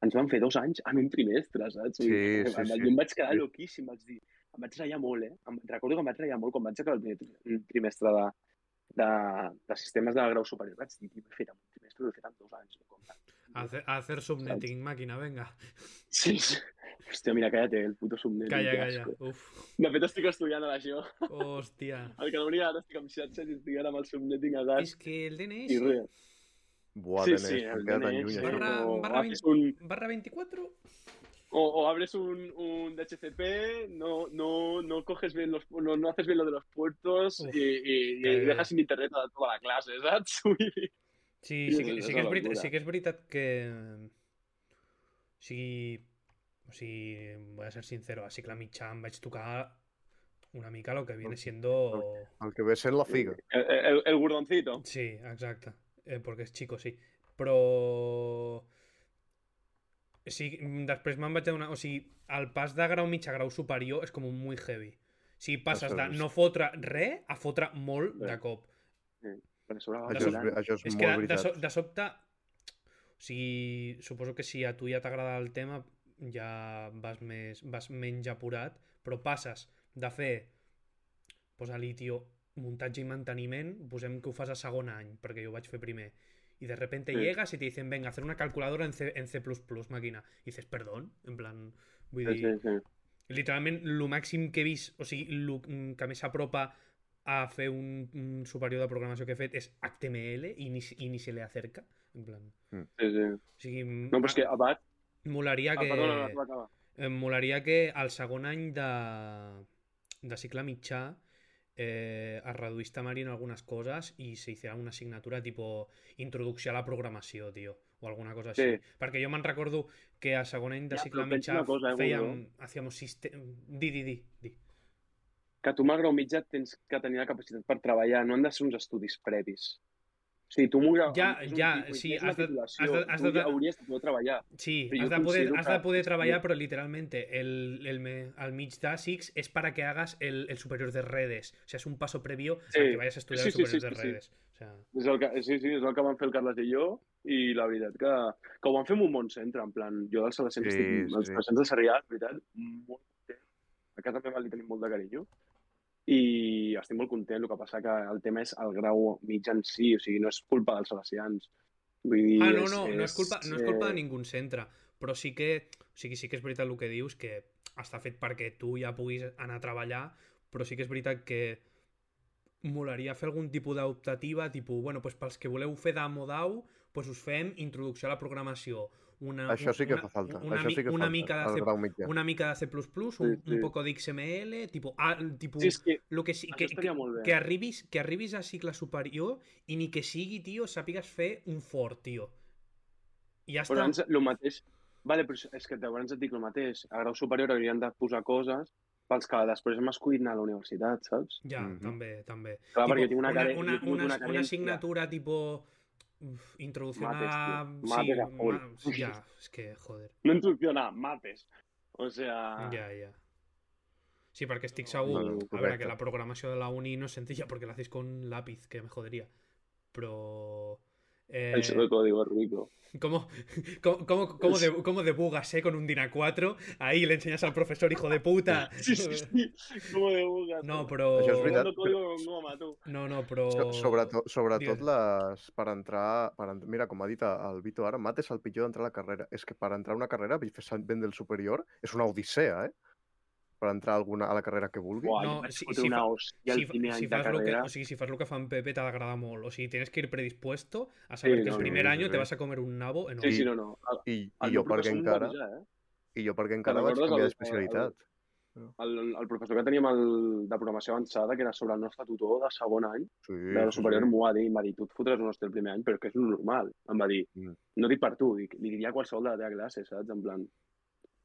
ens van fer dos anys en un trimestre, saps? Vull dir,
Sí, sí,
em-
sí.
Jo em vaig quedar
Sí.
loquíssim, vaig dir, em vaig ratllar molt, eh? Em, recordo que em vaig ratllar molt quan vaig acabar el primer tri- trimestre de, de, de sistemes de grau superior. Vaig dir, tio, ho he fet en un trimestre, ho he fet en dos anys. No compta.
Hacer, hacer subnetting, máquina, venga.
Sí, sí. Hòstia, mira, cállate, el puto subnet.
Calla,
que
calla.
asco.
Uf.
De fet, estic estudiant ara això.
Hostia.
El que hauria ara estic amb xatxes i estic ara amb el subnetting a gas
Es que el DNI
i res.
Buah,
Sí,
DNS,
sí,
m'he
el
quedat en
DNS,
lluny,
sí,
això.
Barra-
però
barra
ha fet un...
barra 24
O, o abres un, un DHCP, no, no, no coges bien los, no, no haces bien lo de los puertos
Uf,
y, y- i
que-
dejas sin internet a toda la clase, saps? Ui.
Sí,
Sí,
sí,
és
que, sí
una- és
que és
una
veritat,
locura.
sí que és veritat que... O sigui, o sigui, voy a ser sincero, a cicle mitjà em vaig tocar una mica lo que viene siendo...
El que ve sent la figa.
El, el, el gordoncito.
Sí, exacto. Eh, porque es chico, sí. Però... Sí, mm, després me'n vaig adonar... O sigui, el pas de grau mitjà a grau superior és com un muy heavy. O sigui, passes de
Ostres.
no fotre res a fotre molt de
Sí.
cop.
Per sobre va
Això és,
volant.
això és,
És que
molt
de, de, so,
veritat.
de sobte... O sigui, suposo que si a tu ja t'agrada el tema ja vas, més, vas menys apurat, però passes de fer posa litio, muntatge i manteniment, posem que ho fas a segon any, perquè jo ho vaig fer primer, y de repente
Sí.
llegas y te dicen, venga, hacer una calculadora en C, en C++, máquina. Y dices, perdón, en plan... Vull
Sí,
dir,
sí, sí.
literalment el màxim que he vist, o sigui, el que més s'apropa a fer un, un superior de programació que he fet és HTML i ni, i ni se le acerca. En plan...
sí, sí.
O sigui,
No, però és que Abad...
molaria
Ah,
Ah, que...
perdona, no, acaba, acaba.
Em molaria que al segon any de, de cicle mitjà eh, es reduís temari en algunes coses i s'hiciera una assignatura tipo introducció a la programació, tio, o alguna cosa així.
Sí.
Perquè jo me'n recordo que a segon any de
Ja,
cicle
però pensa
mitjà
una cosa, eh,
fèiem... Hacíamos sistema... Di, di, di, di.
que tu amb el grau mitjà tens que tenir la capacitat per treballar, no han de ser uns estudis previs. O sigui, tu amb un grau...
Ja,
és un
ja,
tipus,
sí,
és una
has de-
titulació,
has de- has
tu
de-
ja hauries de poder treballar.
Sí,
Però
has
jo
de, poder,
considero
has de
que-
poder
sí.
treballar, però literalmente el, el, me- al mig de SIX és para que hagas el, el superior de redes. O sea, es un paso previo a
Sí.
que vayas a estudiar
Sí,
el
sí, sí,
superior de
sí, sí.
redes. O sea,
És el que, sí, sí, és el que van fer el Carles i jo, i la veritat que, que ho van fer amb un bon centre, en plan, jo dels
Sí,
adolescents, sí,
sí,
estic, els
sí.
adolescents de Sarrià, la veritat, molt content. A casa meva li tenim molt de carinyo, i estic molt content, el que passa que el tema és el grau mig en si, o sigui, no és culpa dels salesians. Vull dir,
Ah, no,
és-
no, no és culpa, no és culpa de
eh,
ningun centre, però sí que, o sigui, sí que és veritat el que dius, que està fet perquè tu ja puguis anar a treballar, però sí que és veritat que molaria fer algun tipus d'optativa, tipus, bueno, doncs pels que voleu fer d'amo d'au, doncs us fem introducció a la programació. Una,
Això sí que
una,
fa falta.
Una,
això
mi-
sí que
una
falta,
mica de
al
C,
grau mitjà.
una mica de C++, un,
sí.
un poco de XML, tipus, ah, tipus
Sí, és que
lo que sí,
Això
que,
estaria
que-
molt bé.
que arribis, que arribis a cicle superior i ni que sigui, tio, sàpigues fer un fort, tio. I ja està.
Però ens, el mateix... Vale, però és que abans et dic el mateix. A grau superior haurien de posar coses pels que després hem escollit anar a la universitat, saps?
Ja,
Mhm.
també, també.
Clar, perquè tinc
una,
una, care...
una,
tinc
una, una
carència.
assignatura tipo uf, introducción a...
Mates, tío. Mates a
sí,
full.
ma- sí, ya, es que, joder,
No instrucció, nada, mates. O sea...
ya, ya. Sí, perquè estic segur...
Ah. No,
a
no,
veure,
correcte.
que la programació de la uni no és senzilla perquè la hacéis con lápiz, que me jodería. Però... Eh,
El de código es rico.
¿Cómo, cómo, cómo, cómo de- cómo debugas, eh? Con un DINA 4. Ahí le enseñas al profesor, hijo de puta.
Sí, sí, sí. Como de bugas.
No, pero...
Això és veritat.
Jugando código con goma, tú.
No, no, però...
So- Sobretot, sobretot
Digues.
les, per entrar, per entrar... Mira, com ha dit el Vito ara, mates el pitjor d'entrar a la carrera. És que per entrar a una carrera, ben del superior, és una odissea, eh? Per entrar a, alguna, a la carrera que vulgui.
Buah,
No,
no,
si-
si,
si
una
fa-
hostia
si,
el
fa-
primer
si
any de
fas lo que,
carrera.
o sigui, si fas lo que fan Pepe t'agrada molt. O sigui, tienes que ir predispuesto a saber
Sí,
que
no,
el
no,
primer
sí,
año
sí.
te vas a comer un nabo enorme.
Sí, sí, no, no. El,
I,
el
i jo
meu
perquè
professor em va
encara,
avisar, eh?
i jo perquè encara vaig
recordes
canviar
el-
d'especialitat.
El, el professor que teníem el, de programació avançada, que era sobre el nostre tutor de segon any,
Sí,
de la
sí,
superior
sí.
m'ho va dir, em va dir, tu et fotràs un hòstia el primer any, però és que és normal. Em va dir,
Mm.
no dic per tu, dic, li diria a qualsevol de la teva classe, saps? En plan,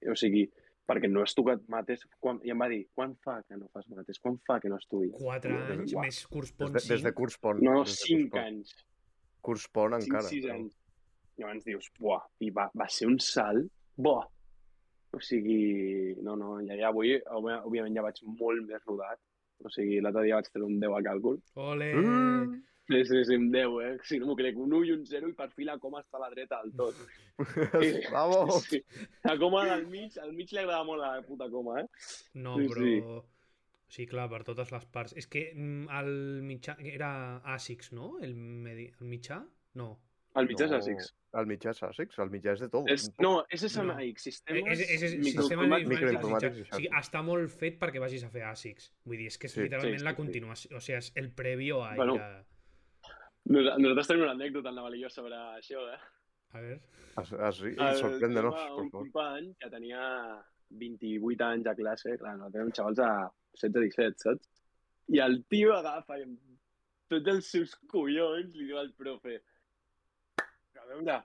eh, o sigui, perquè no has tocat mates, quan, i em va dir, quan fa que no fas mates, quan fa que no estudies?
Quatre
Des de-
anys,
uah.
més curs
Des
pon
de, des de
cinc.
curs pont.
No,
des de
cinc
curs pont.
anys,
Curs pont
cinc,
encara.
sis
però-
anys. Llavors dius, buah, i va, va ser un salt, buah. O sigui, no, no, ja, ja avui, òbvia- òbviament ja vaig molt més rodat, o sigui, l'altre dia vaig treure un 10 a càlcul,
Ole!
Mm.
Sí, sí, sí, un 10, eh? Si no m'ho crec, un 1 i un 0 i per fi la coma està a la dreta del tot. Sí.
Oh.
Vamos.
Sí. La coma del mig, al mig li agrada molt la puta coma, eh?
No,
Sí,
però...
sí.
Sí, clar, per totes les parts. És que mm, el mitjà... Era ASICS, no? El, medi... el mitjà? No.
El mitjà
No,
és ASICS.
El mitjà és Essex, el mitjà és de tot.
És, no, és SMI,
És,
sistemes...
Eh, és, és sistema
microinformàtics.
informàtics.
d'informàtica.
Microinformàtics,
O sigui,
exacte.
està molt fet perquè vagis a fer ASICS. Vull dir, és que és
Sí,
literalment
sí,
la
sí, sí.
continuació. O sigui, és el previo a... ir
Bueno,
a-
Nos- Nosaltres tenim una anècdota amb la Valillo sobre això, eh?
A ver.
Es, es, i sorprèn-nos,
tenia
per
un
favor.
company que tenia 28 anys a classe, clar, no tenen xavals a 16-17, saps? I el tio agafa i amb tots els seus collons li diu al profe a veure,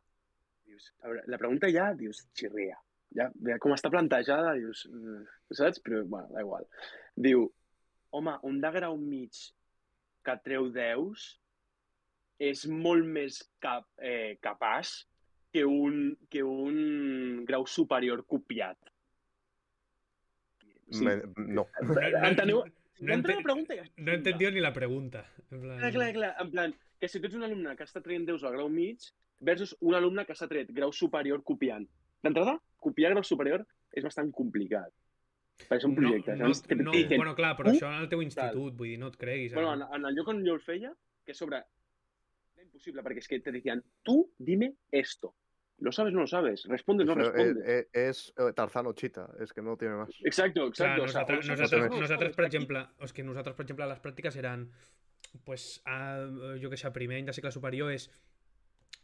dius, a veure, la pregunta ja, dius, xirria. Ja, ja com està plantejada, dius, mm, saps? Però, bueno, da igual. Diu, home, un de grau mig que treu 10 és molt més cap, eh, capaç que un, que un grau superior copiat. Sí.
Me, mm, no.
No, no-
Enteneu?
no
No entra
ente-
la pregunta. Ja.
no he entendido ni la pregunta. En plan,
Clar, clar, clar. En plan, que si tu ets un alumne que està traient 10 al grau mig versus un alumne que s'ha tret grau superior copiant. D'entrada, copiar grau superior és bastant complicat. Perquè són projectes.
No,
saps? Uh, Que
no,
t'exigeixen.
bueno, clar, però
"Tu
això en el teu institut, vull dir, no et creguis.
Bueno,
ara.
en, en el lloc on jo el feia, que a sobre era impossible, perquè és que te decían, tu dime esto. Lo sabes, no lo sabes. Respondes, no
Però, eh,
respondes.
eh, és eh, Tarzano Chita, és que no tiene más.
Clar,
Exacto, exacto. o sea,
nosaltres,
o lo sabes,
nosaltres,
no lo
nosaltres,
sabes.
per
Aquí-
exemple, és que nosaltres, per exemple, les pràctiques eren, pues, a, jo que sé, a primer any de cicle superior és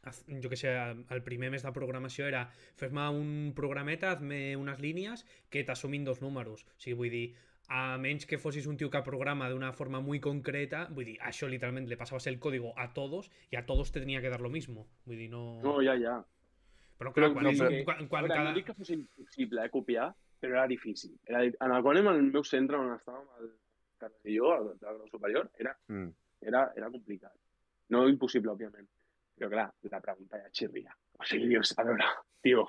haz- jo que sé, el primer mes de programació era fes-me un programeta, hazme unes línies que t'assumin dos números. O sigui, vull dir, a menys que fossis un tio que programa d'una forma muy concreta, vull dir, això literalment le pasabas el código a todos y a todos te tenía que dar lo mismo. Vull dir, no...
No, ja, ja.
però clar,
però-
quan,
no,
és,
però-
quan,
A
quan
veure,
cada...
no dic que fos impossible eh, copiar, però era difícil. Era, di- en el qual en el meu centre on estàvem, el Carles i jo, el, el grau superior, era,
Mm.
era, era complicat. No impossible, òbviament. Però clar, la pregunta ja xirria. O sigui, dius, a veure, tio,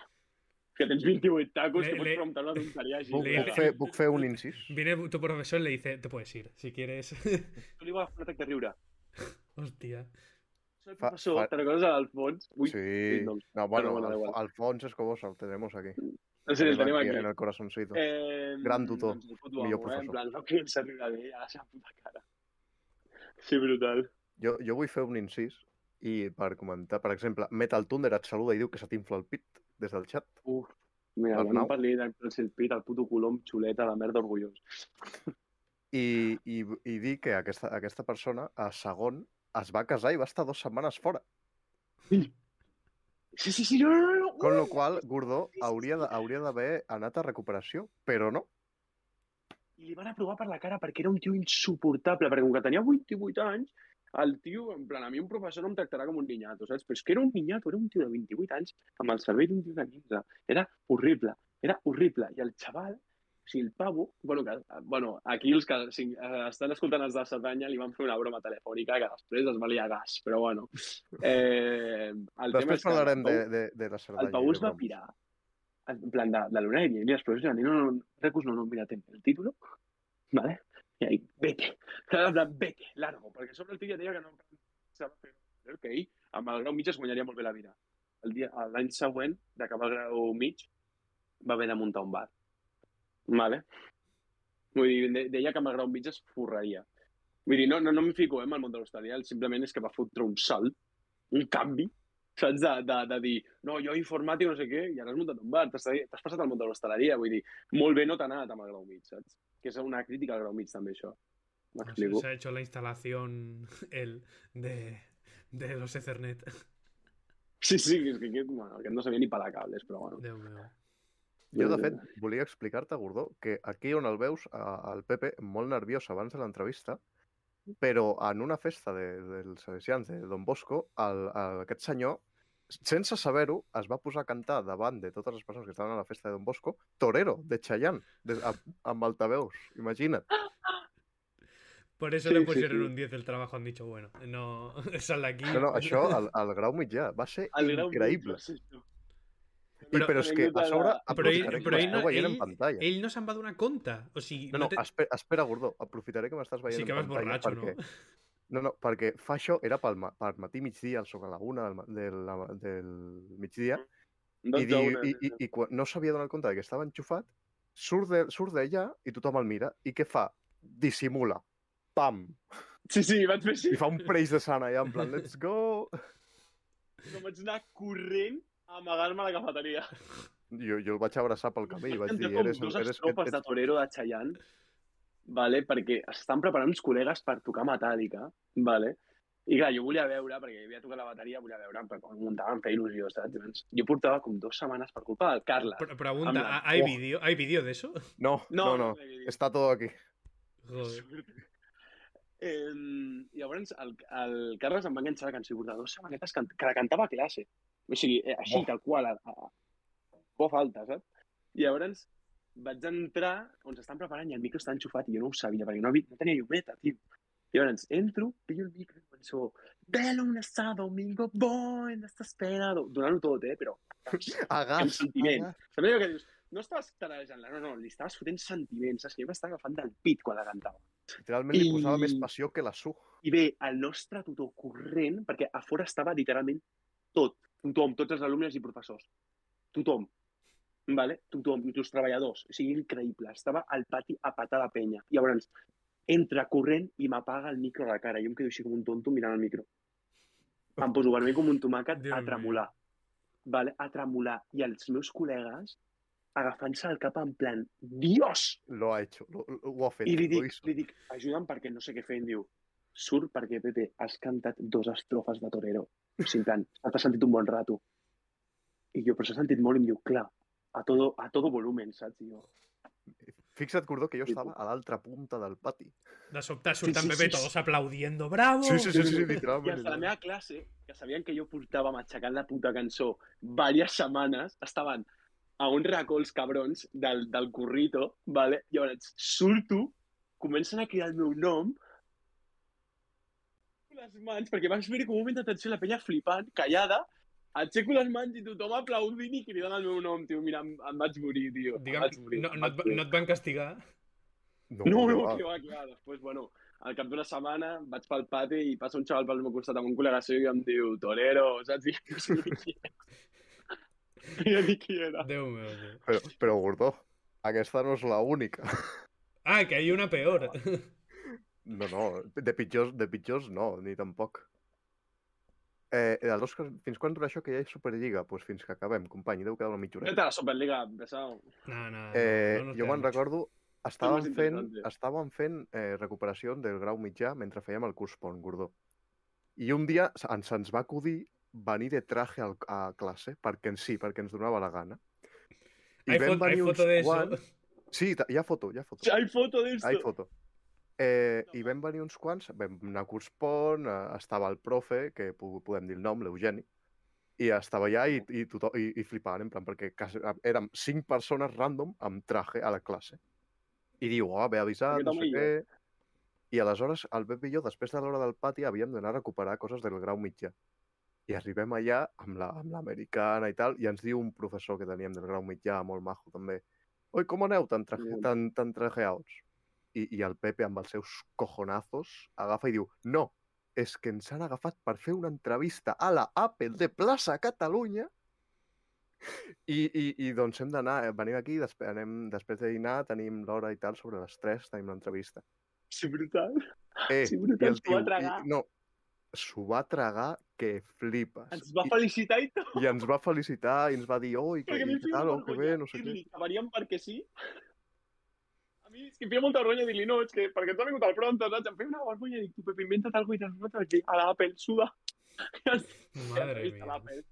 que tens 28 tacos,
Le- le-
que pots preguntar una tonteria així.
Puc,
Le-
puc, fer, puc fer un incís?
Viene tu profesor y le dice, te puedes ir, si quieres.
Tu li vas fer un atac de riure.
Hostia.
Soy
Fa-
professor,
fa-
te recordes a l'Alfons? Ui, sí.
Sí.
no.
No, bueno,
bueno, da
Alf-
igual.
Alfons Escobosa, el tenemos aquí.
no sé, el tenim
aquí
aquí.
En el corazoncito.
Eh,
Gran tutor,
Doncs el foto
millor
amo, eh? En
professor.
plan, no que ens arriba bé eh", a la seva puta cara. Sí, brutal.
Jo, jo vull fer un incís i per comentar, per exemple, Metal Thunder et saluda i diu que se t'infla el pit des del xat.
Uf, mira, quan
Arnau?
em parli del Pretzel Pit, el puto colom xuleta de merda orgullós.
I, i, i dir que aquesta, aquesta persona, a segon, es va casar i va estar dues setmanes fora.
Sí, sí, sí, no, no, no, uh! no.
Con lo
ui!
qual, Gordó
sí, sí,
hauria de-
sí.
hauria d'haver anat a recuperació, però no.
I li van aprovar per la cara perquè era un tio insuportable, perquè com que tenia 28 anys, el tio, en plan, a mi un professor no em tractarà com un niñato, saps? Però és que era un niñato, era un tio de 28 anys amb el cervell d'un tio de 15. Era horrible, era horrible. I el xaval, o sigui, el pavo... Bueno, que, bueno aquí els que si, eh, estan escoltant els de Cerdanya li van fer una broma telefònica que després es va liar a gas, però bueno. Eh, el tema és
Després
que el
parlarem de,
pavo-
de, de la Cerdanya.
el Pau
i
es va
bromes.
pirar. En plan, de, de l'horari, i les profes li van dir, no, no, no, Recus, no, no, mira, ten el título, ¿vale? Y ahí, vete, en plan, vete, largo, perquè sobre el tio ja deia que no pensava fer que ell amb el grau mig es guanyaria molt bé la vida. El dia- L'any següent, d'acabar el grau mig, va haver de muntar un bar. Vale? Vull dir, de- deia que amb el grau mig es forraria. Vull dir, no, no, no em fico eh, en el món de l'hostaleria, simplement és que va fotre un salt, un canvi, saps? De, de, de dir, no, jo informàtic, no sé què, i ara has muntat un bar, t'has t'has passat al món de l'hostaleria, vull dir, molt bé no t'ha anat amb el grau mig, saps? Que és una crítica al grau mig, també, això.
No sé,
Ah,
M'explico.
se ha hecho la instalación el de, de los Ethernet.
Sí, sí, és que aquest, bueno, aquest no sabia ni pelar cables, però bueno.
Déu meu.
Jo, de fet, volia explicar-te, Gordó, que aquí on el veus, a- al Pepe, molt nerviós abans de l'entrevista, però en una festa de, dels salesians de Don Bosco, el, el, aquest senyor, sense saber-ho, es va posar a cantar davant de totes les persones que estaven a la festa de Don Bosco, Torero, de Chayanne, de, a, amb altaveus, imagina't.
Por eso
Sí,
le
sí,
pusieron
sí.
un 10 del trabajo, han dicho, bueno, no, sal de aquí.
No, no, això al, al grau mitjà va ser
El grau mig
increïble.
va ser això.
I, però és que a sobre...
però ell-
aprofitaré que
però ell
m'esteu
no-
veient en
ell-
pantalla.
Ell no se'n va donar compte. O sigui,
No, no,
te-
espera, espera, Gordó, aprofitaré que m'estàs veient
sí que
en
vas
pantalla
borratxo,
perquè...
no?
No, no, perquè fa això era pel, ma per matí migdia, al sobre la una del, ma- de la, del migdia, i,
Doncs
di,
una,
i, i, i quan no s'havia donat compte de que estava enxufat, surt de- surt d'allà i tothom el mira, i què fa? Dissimula. Pam!
Sí, sí, vaig fer així.
I fa un preix de sana allà, en plan, let's go!
No vaig anar corrent a amagar-me a la cafeteria.
Jo, jo el vaig abraçar pel camí i vaig dir,
Cantar com
eres...
dos
eres,
estrofes de Torero de Chayanne, vale? perquè estan preparant uns col·legues per tocar metàl·lica, vale? I clar, jo volia veure, perquè havia tocat la bateria, volia veure però com muntava, em feia il·lusió, saps? Llavors, Jo portava com dues setmanes per culpa del Carles.
Pre- pregunta,
Habla.
¿ha- ¿hay
Oh.
vídeo hay vídeo de eso?
No, no, no. Está todo aquí.
Joder.
Eh, llavors, el, el Carles em va enganxar la cançó i portava dues setmanetes que, que la cantava a classe. O sigui, eh, així,
Buah.
tal qual, a, a, por falta, saps? I llavors vaig entrar on s'estan preparant i el micro està enxufat i jo no ho sabia, perquè no, havia, no tenia llumeta, tio. I llavors entro, pillo el micro i penso Velo un asado, domingo, bon, desesperado. Donant-ho tot, eh, però...
A
amb
gas. a
sentiment.
gas.
També allò que dius, no estaves tarejant-la, no, no, li estaves fotent sentiments, saps? Que jo m'estava agafant del pit quan la cantava.
Literalment li posava més
I-
passió que la su.
I ve el nostre tutor corrent, perquè a fora estava literalment tot, tothom, tots els alumnes i professors. Tothom. Vale? Tothom, i els treballadors. O sigui, increïble. Estava al pati a patar la penya. I llavors, entra corrent i m'apaga el micro a la cara. Jo em quedo així com un tonto mirant el micro. Em poso vermell com un tomàquet
Déu
a tremolar. Vale? A tremolar. I els meus col·legues agafant-se el cap en plan, Dios!
Lo ha hecho. Lo, lo- ho ha fet.
I li
Lo
dic,
hizo.
li dic ajuda'm perquè no sé què fer. Em diu, surt perquè, Pepe, has cantat dos estrofes de Torero. O sigui, en plan, "Ah, t'has sentit un bon rato. I jo, però s'ha sentit molt, i em diu, clar, a todo, a todo volumen, saps? I jo,
Fixa't, Cordó, que jo
Sí,
estaba a l'altra punta del pati.
De sobte
Sí,
surten
sí,
Pepe
sí,
todos aplaudiendo, bravo.
Sí, sí, sí, sí, sí
I
literalment.
els de la meva classe, que sabien que jo portava matxacant la puta cançó diverses setmanes, estaven a un racó els cabrons del, del currito, vale? i llavors surto, comencen a cridar el meu nom, les mans, perquè vaig veure com un moment d'atenció la penya flipant, callada, aixeco les mans i tothom aplaudint i cridant el meu nom, tio, mira, em, em vaig morir, tio,
Digue'm,
em vaig morir.
no,
em
no, et,
vaig
va-
morir.
no et van castigar?
No,
que oh.
no,
va.
que va, que va. Després, bueno, al cap d'una setmana vaig pel pati i passa un xaval pel meu costat amb un col·lega seu i em diu Torero, saps? I jo no sabia qui era. I jo dic qui era.
Déu meu, tio.
Però, però, Gordó, aquesta no és la única.
Ah, que hay una peor.
No, no, de pitjors, de pitjors no, ni tampoc. Eh, els Oscars, fins quan dura això que hi ha Superliga? Doncs pues fins que acabem, company, deu quedar una mitja
Vete
horeta.
a la Superliga, pesado.
No, no, no,
Eh,
no nos
jo
queda
me'n
mucho.
recordo, estàvem
més
fent,
interessante.
estàvem fent eh, recuperacions del grau mitjà mentre fèiem el curs pont, Gordó. I un dia se- ens, se'ns va acudir venir de traje al, a classe, perquè ens sí, perquè ens donava la gana. I
Hay,
vam
fo- hay
venir uns
foto de eso.
quants- Sí, ta- hi ha foto, hi ha foto.
Hay foto de
Hay
esto.
foto. Eh, I vam venir uns quants, vam anar a curs pont, eh, estava el profe, que po- podem dir el nom, l'Eugeni, i estava allà i, i, tothom, i, i flipaven, en plan, perquè quasi, érem cinc persones random amb traje a la classe. I diu, oh, ve avisat,
Aquest
no
home
sé
i jo.
què... I aleshores, el Pep i jo, després de l'hora del pati, havíem d'anar a recuperar coses del grau mitjà. I arribem allà amb la- amb l'americana la, i tal, i ens diu un professor que teníem del grau mitjà, molt majo també, oi, com aneu tan, traje,
Mm.
tan, tan trajeaos? I, I el Pepe, amb els seus cojonazos, agafa i diu, no, és que ens han agafat per fer una entrevista a la Apple de Plaça Catalunya i, i, i doncs hem d'anar, eh, venim aquí, després, anem, després de dinar tenim l'hora i tal, sobre les 3 tenim l'entrevista.
Sí, brutal.
Eh,
Sí,
i
brutal,
el
s'ho va
tio,
tragar.
i, no, s'ho va tragar que flipes.
Ens va felicitar i tot.
I, I ens va felicitar i ens va dir, oi, que,
Perquè a mi
i
em
que
feia
tal, o
molta
que
vergonya
bé, no sé què.
dir-li que veníem perquè sí. A mi és que em feia molta vergonya dir-li, no, és que perquè ens ha vingut al pronto, saps? Em feia una vergonya dir, tu, Pepe, inventa't alguna cosa i nosaltres aquí, a l'Apple, suda. I ens
Madre
Entrevista a
mía.
l'Apple.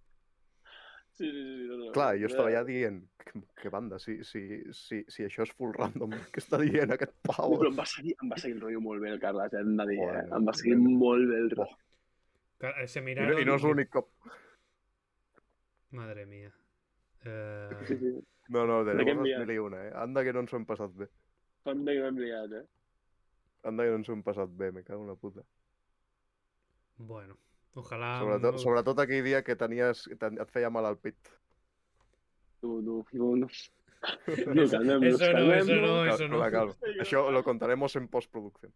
Sí, sí, sí. No, no.
Clar, jo estava allà
Eh,
dient, que, que banda, si, si, si, si això és full random, què està dient aquest pau?
Però em va, seguir, em va seguir el rotllo molt bé el Carles, eh, hem de dir, eh?
Joder,
em va seguir
joder.
molt bé el rotllo.
Ca- eh, Se
I no,
miraron...
i no és l'únic cop.
Madre mía.
Sí,
Eh,
sí,
No, no, de
De què
llavors
enviar?
mil i una, eh? Anda que no ens ho hem passat bé.
fan de gran liat, eh?
Anda que no ens ho hem passat bé, me cago en la puta.
bueno, ojalá...
Sobretot,
no-
sobretot aquell dia que tenies, que ten, et feia mal al pit.
Tu, tu, tu, no. No,
Eso no,
calmem-nos,
eso
calmem-nos.
no,
Cal-
eso no.
calma, calma. Això lo contaremos en postproducción.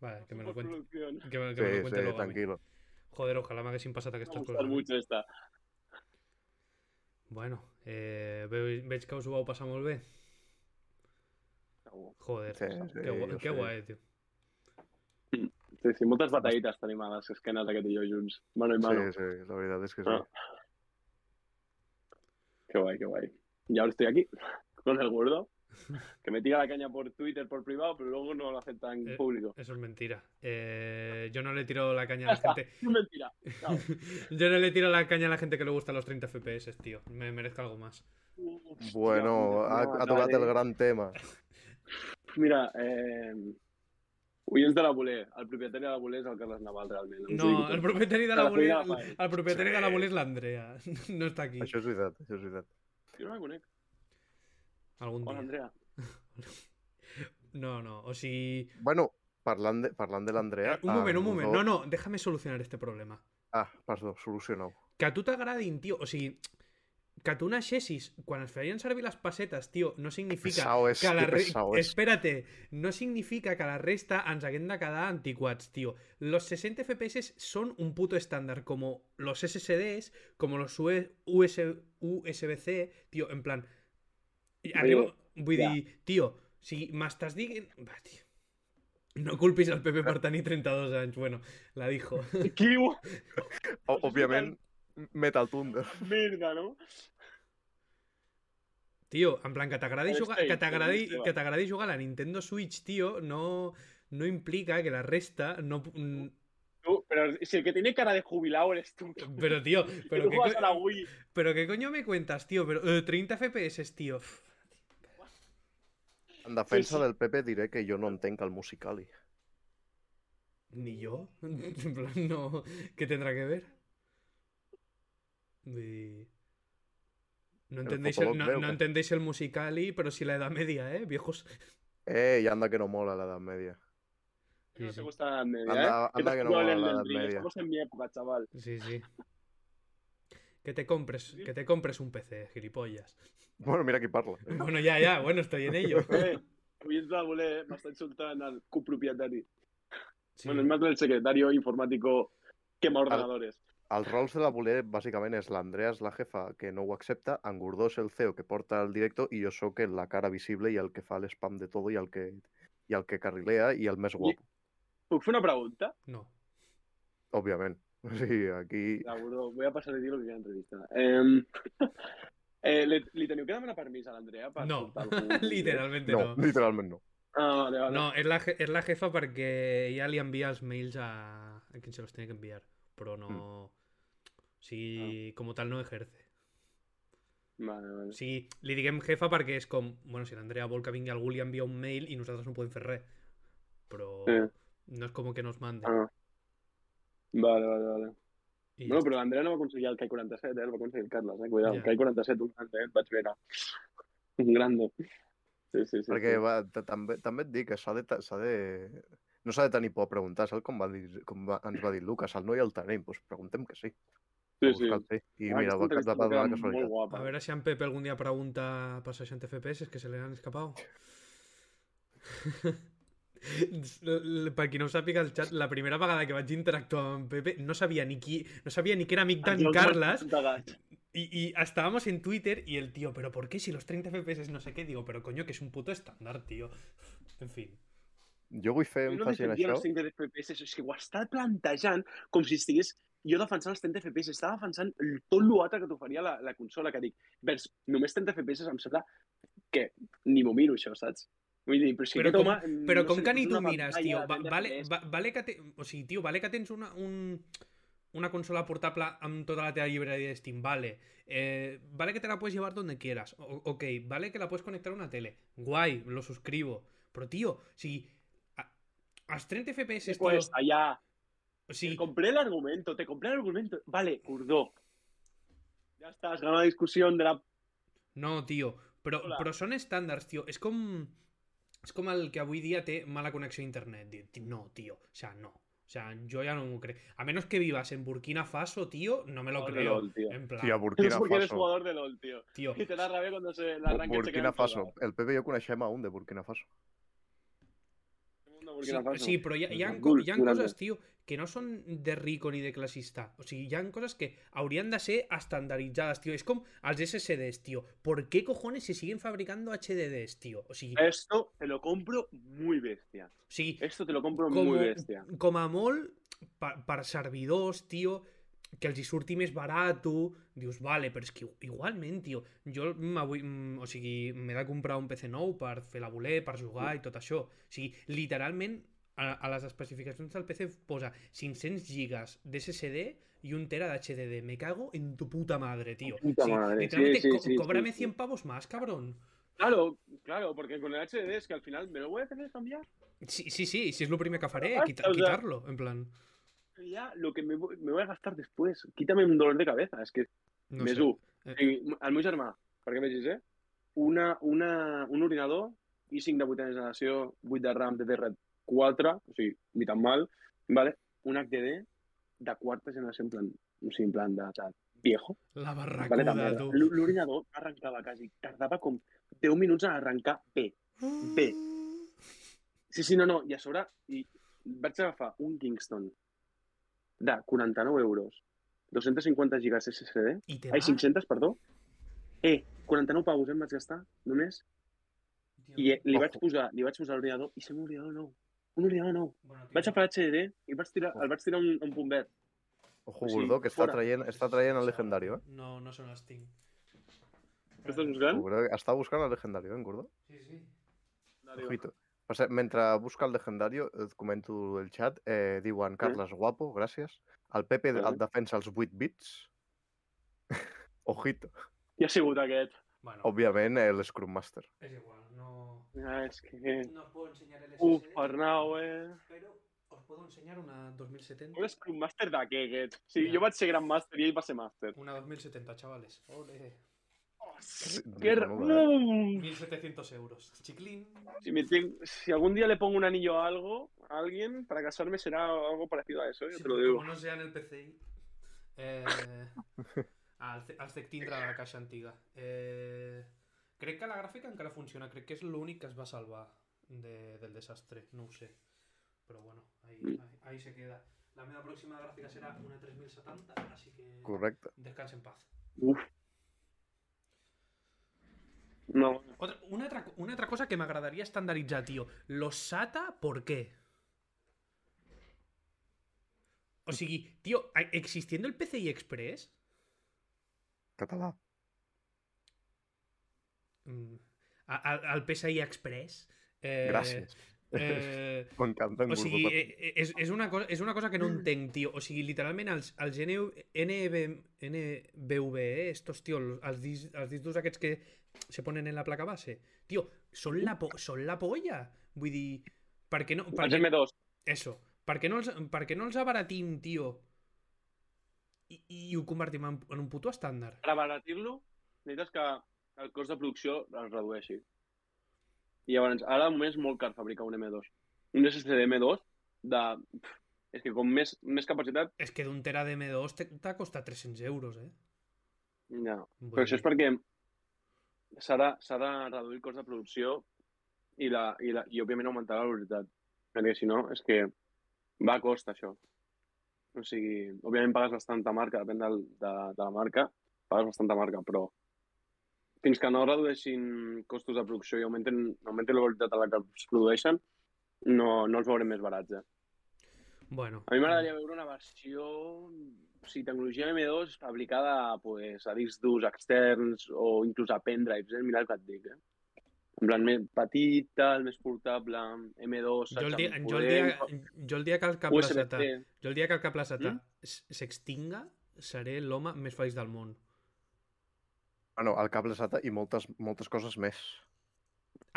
Vale, que me lo cuente.
Postproducció.
Que me, que me lo
Sí,
cuente
sí,
luego a mí.
tranquilo.
Joder, ojalá me haguessin passat
M'ha
aquestes
gustat
coses.
mucho esta.
Bueno, eh, ve- veig que us ho vau passar molt bé. Joder,
Sí, sí,
que, gua-
jo
que
sé.
guai, tio.
Sí, sí, moltes batallites tenim a les esquenes aquest i jo junts. Mano i mano.
Sí, sí, la veritat és que sí.
Ah. Que guai, que guai. I ara estic aquí, con el gordo. que me tira la caña por Twitter, por privado, pero luego no lo acepta en
Eh,
público.
Eso es mentira. Eh, yo no le tiro la caña a la gente.
Es mentira. Claro.
Yo no le tiro la caña a la gente que le gusta los 30 FPS, tío. Me merezco algo más.
Hostia,
Bueno,
puta,
ha,
no,
ha tocat
dale.
el gran tema.
Mira, eh... Oients de la Voler. El propietari de la Voler és el Carles Naval, realment. Us ho dic
No,
tot.
el propietario de
Te
la
la
boli,
cuida la paella.
el propietari de la boli es la Andrea. No está aquí.
Això és veritat, això és veritat.
Jo no la conec.
Algún
Hola,
día.
Andrea.
No, no. O si.
Bueno, parlant de, parlant de l'Andrea...
Un moment,
en
un moment.
Rodó-
No, no, déjame solucionar este problema.
Ah, perdó, solucioneu.
Que a tu t'agradin, tio. O sigui, que a tu naixessis quan es feien servir les pessetes, tio, no significa
Pesau és,
que la
que
re...
pesau és.
Espérate, no significa que la resta ens haguem de quedar antiquats, tio. Los 60 FPS son un puto estándar, como los SSDs, como los E, US... USB-C, tio, en plan... i Arriba... Vull
ja.
dir, tio, si m'estàs dient... Va, tio. No culpis al PP per tenir 32 anys. Bueno, la dijo.
Qui ho...
Ó- Òbviament, Metal Thunder.
Merda, no?
Tio, en plan, que t'agradi
El
jugar,
State,
que t'agradi,
el State.
que t'agradi jugar a la Nintendo Switch, tio, no, no implica que la resta no... pu- mm,
Tú, pero si el que tiene cara de jubilado eres tú. Que
Pero, tío, pero
tú
qué,
juegas a la
co-
Wii.
pero qué coño me cuentas, tío, pero eh, 30 FPS, tío. Uf.
En defensa
sí.
del PP diré que jo no entenc el Musicali.
Ni yo. En plan, no. ¿Qué tendrá que ver? Y- No
El
entendéis el,
Fotolog
no,
veo
no
que-
entendéis el musicali, pero sí la edad media, ¿eh, viejos?
Eh, i anda que no mola l'edat media.
No
sí.
te gusta la Edad media,
Anda-
¿eh?
anda
te
que no
duele
mola la
el
Edad
Ring,
Media.
Estamos en mi época, chaval.
Sí, sí. Que te compres, que te compres un PC, gilipollas.
Bueno, mira qui parla.
Bueno, ya, ya, bueno, estoy en ello.
Eh, oients de la voler, eh? m'està insultant el copropietari.
Sí.
Bueno, es más del secretario informático quema ordenadores.
Els rols de la voler, bàsicament, és l'Andrea és la jefa, que no ho accepta, en Gordó és el CEO, que porta el directo, i jo sóc el- la cara visible i el que fa l'espam de tot i el que i el que carrilea i el més guapo,
Puc fer una pregunta?
No.
òbviament. O sigui, aquí...
Seguro, voy a pasar de dir el que queda entrevista. Em, eh, li, li teniu que demanar permís a l'Andrea? Per
No,
portar algú?
literalmente
No,
no. No,
literalment no.
Ah, vale, vale.
és, la, je- és la jefa perquè ella li envia els mails a, a quien se los tiene que enviar, però no...
Hmm.
O sigui,
Ah.
com tal no ejerce.
Vale, vale.
O sigui, li diguem jefa perquè és com... Bueno, si l'Andrea vol que vingui algú li envia un mail i nosaltres no podem fer res. Però
Eh.
no és com que nos mande.
Ah. Vale, vale, vale.
I ja
Bueno, però l'Andrea no va aconseguir el K47, eh? El va aconseguir el Carles, eh? Cuidado,
Ja.
el K47, un grande, eh? Et vaig veure. Un grande. Sí, sí, sí.
Perquè
sí.
va, ta- també, també et dic que s'ha de, ta- s'ha de... No s'ha de tenir por a preguntar, saps com, va dir, com va, ens va dir Lucas? El no i el tenim, doncs preguntem que sí.
sí,
a
sí.
buscar el sí. I
Ah,
mira,
aquesta
va, va, va,
entrevista queda
donar
Molt
casualitat.
guapa.
A ver si a Pepe algún día pregunta para 60 FPS que se le han escapado. para quien no sàpiga el chat, la primera vegada que vaig interactuar amb Pepe no sabía ni qui, no sabía ni que era amic d'en
Ens els
Carles
hem tagat.
y, estábamos en Twitter y el tío, pero ¿por qué si los 30 FPS no sé qué? Digo, pero coño, que es un puto estándar, tío. En fin.
Jo vull fer
Jo no
èmfasi en
defendia
això.
els 5 de FPS, és que ho està plantejant com si estigués jo defensant els 30 FPS, estava defensant el- tot l'altre que t'oferia la, la consola, que dic, vers, només 30 FPS em sembla que ni m'ho miro, això, saps? Vull dir, però si
Pero
aquest
com,
home... mm,
pero
no
com
sé,
que
li
ni
posa
tú
una
miras,
pantalla
tío.
de
Va-
30
vale,
FPS.
va- vale que te, o sigui, tio, vale que tens una, un, una consola portable amb tota la teva llibreria de Steam, vale. Eh, vale que te la puedes llevar donde quieras. O- ok, vale que la puedes conectar a una tele. Guay, lo suscribo. Pero, tío, si... A, als 30 FPS, tío...
Te cuesta, ya.
o
pues, Te
sigui,
compré el argumento, te compré el argumento. Vale, Curdo. Ya estás, ganando la discusión de la...
No, tío. Però,
Hola.
però són estàndards, tio. És com... És com el que avui dia té mala connexió a internet. Di- ti- No, tío. O sea, no. O sea, yo ya no me creo. A menos que vivas en Burkina Faso, tío, no me lo
Jugador de
creo.
LOL, tío.
En plan,
Tio,
Es
Burkina
porque eres
Faso.
jugador de LOL, tío.
tío.
Y te da rabia cuando se la arranque
Burkina Faso. El PP i jo coneixem a un de Burkina Faso.
Sí, sí, però hi ha, hi ha,
Gul-
co- hi ha
Gulanda.
coses, tio, que no són de rico ni de classista. O sigui, hi ha coses que haurien de ser estandarditzades, tio. És com els SSDs, tio. ¿Por qué cojones se siguen fabricando HDDs, tio? O sigui, o
Esto te lo compro muy bestia.
sigui
Esto te lo compro
Como-
muy bestia.
com a molt, per, per servidors, tio, que els hi surti més barat, dius, vale, però és que igualment, tio, jo m'avui, mm, o sigui, m'he de comprar un PC nou per fer la voler, per jugar i tot això. O sigui, literalment, a, a les especificacions del PC posa 500 gigas de SSD i un tera de HDD. Me cago en tu puta madre, tío.
Puta
O sigui,
madre, sí,
literalmente,
sí,
co-
sí, sí,
cóbrame
sí.
100 pavos más, cabrón.
Claro, claro, porque con el HD es que al final me lo voy a tener que cambiar.
Sí, sí, sí, si es lo primero que haré,
Basta, o sea.
quitarlo, en plan.
Ya lo que me voy, me voy a gastar después. Quítame un dolor de cabeza. Es que
No
més
sé.
un.
Eh.
I el meu germà, perquè vegis, eh? Una, una, un ordinador i5 de vuitena generació, 8 de RAM DDR4, o sigui, ni tan mal, vale? un HDD de quarta generació, en plan, o sigui, en plan de, de viejo.
La
Vale, de
barracuda,
merda.
tú.
L'o- L'ordinador arrencava quasi, tardava com 10 minuts en arrencar bé. bé. Sí, sí, no, no, i a sobre i vaig agafar un Kingston de 49 euros, 250 gigas SSD,
Y te
Ai,
da,
500, perdó. Eh, 49 pavos em vaig gastar, només,
tío.
i eh, li vaig
Ojo.
posar, li vaig posar l'ordinador i ser un ordinador nou. Un ordinador nou.
Bueno, tío,
Vaig agafar l'HDD i vaig tirar, el vaig tirar un, un bombet.
Ojo,
Sí,
Gurdó, que està
fora.
traient, està traient el legendario, eh?
No, no son las Steam.
Què estàs buscant?
Gurdó, està buscant el legendario, eh, Gurdó?
Sí, sí.
Ojito. O sea, mentre busca el legendario, et comento el chat, eh, diuen Carles Guapo, gràcies. El Pepe
Vale.
et defensa els 8 bits. Ojito.
Qui ha sigut aquest?
Bueno,
Oh.
Òbviament, el Scrum Master.
es igual, no...
Ah, és que...
No os puedo enseñar el
Uf,
SSD,
Arnau, eh?
pero os puedo enseñar una 2070.
Un Scrum Master de què, aquest? Sí,
Ja.
jo vaig ser Grand Master i ell va ser Master.
Una 2070, chavales. Ole.
Oh, que...
Menuda,
No!
1700 euros. Chiclín.
Si, me tengo- si algún día le pongo un anillo a algo, a alguien, para casarme será algo parecido a eso, yo
Sí,
te lo
porque
digo.
Como no sea en el PCI. Eh, al, ce- al Cectindra de la caixa antiga. Eh, crec que la gràfica encara funciona. Crec que és l'únic que es va salvar de, del desastre. No ho sé. Però bueno, ahí,
Mm.
ahí, ahí se queda. La meva pròxima gràfica serà una 3070, així que...
Correcte.
Descansa en paz.
Uf. No,
Otra, una, otra, una otra cosa que me agradaría estandarizar, tío. Los SATA, ¿por qué? O sigui, tío, a- existiendo el PCI Express.
Català.
mm, a- a- al PCI Express. eh,
Gràcies.
eh,
M'encanta en
o
Gurdó.
sigui,
per-
eh, eh, és, és, una cosa, és una cosa que no entenc, tio. O sigui, literalment, els, els E NV, NB, E NBVE, eh, estos, tio, els, dis, els discs durs aquests que se ponen en la placa base, tio, són la, po són la polla. Vull dir, per què no... Per
els
què,
M2.
eso, per què no els, per què no els abaratim, tio? I, i ho convertim en, en un puto estàndard.
Per abaratir-lo, necessites que el cost de producció es redueixi. I llavors, ara de moment és molt car fabricar un M2. Un SSD M2 de... pf, És que com més, més capacitat,
És que d'un tera de M2 te- t'ha costat 300 euros, eh?
ja.
Vull
Però això
dir-
és perquè s'ha de, s'ha de reduir el cost de producció i, la, i, la, i òbviament augmentar la velocitat. Perquè si no, és que va a cost això. O sigui, òbviament pagues bastanta marca, depèn del, de, de la marca, pagues bastanta marca, però fins que no redueixin costos de producció i augmenten, augmenten la velocitat a la que es produeixen, no, no els veurem més barats, eh?
Bueno. mm,
A mi m'agradaria veure una versió, o sigui, tecnologia M2 aplicada pues, a discs durs externs o inclús a pendrives, eh? mira el que et dic. Eh? En plan, més petita, el més portable, M2,
Jo el,
saps,
dia,
amb
jo, el dia, jo el dia que el cable
USB-C.
setà- Jo el dia que el cable setà
Mm?
s- s'extinga, seré l'home més feliç del món.
Bueno, el cable SATA i moltes, moltes coses més.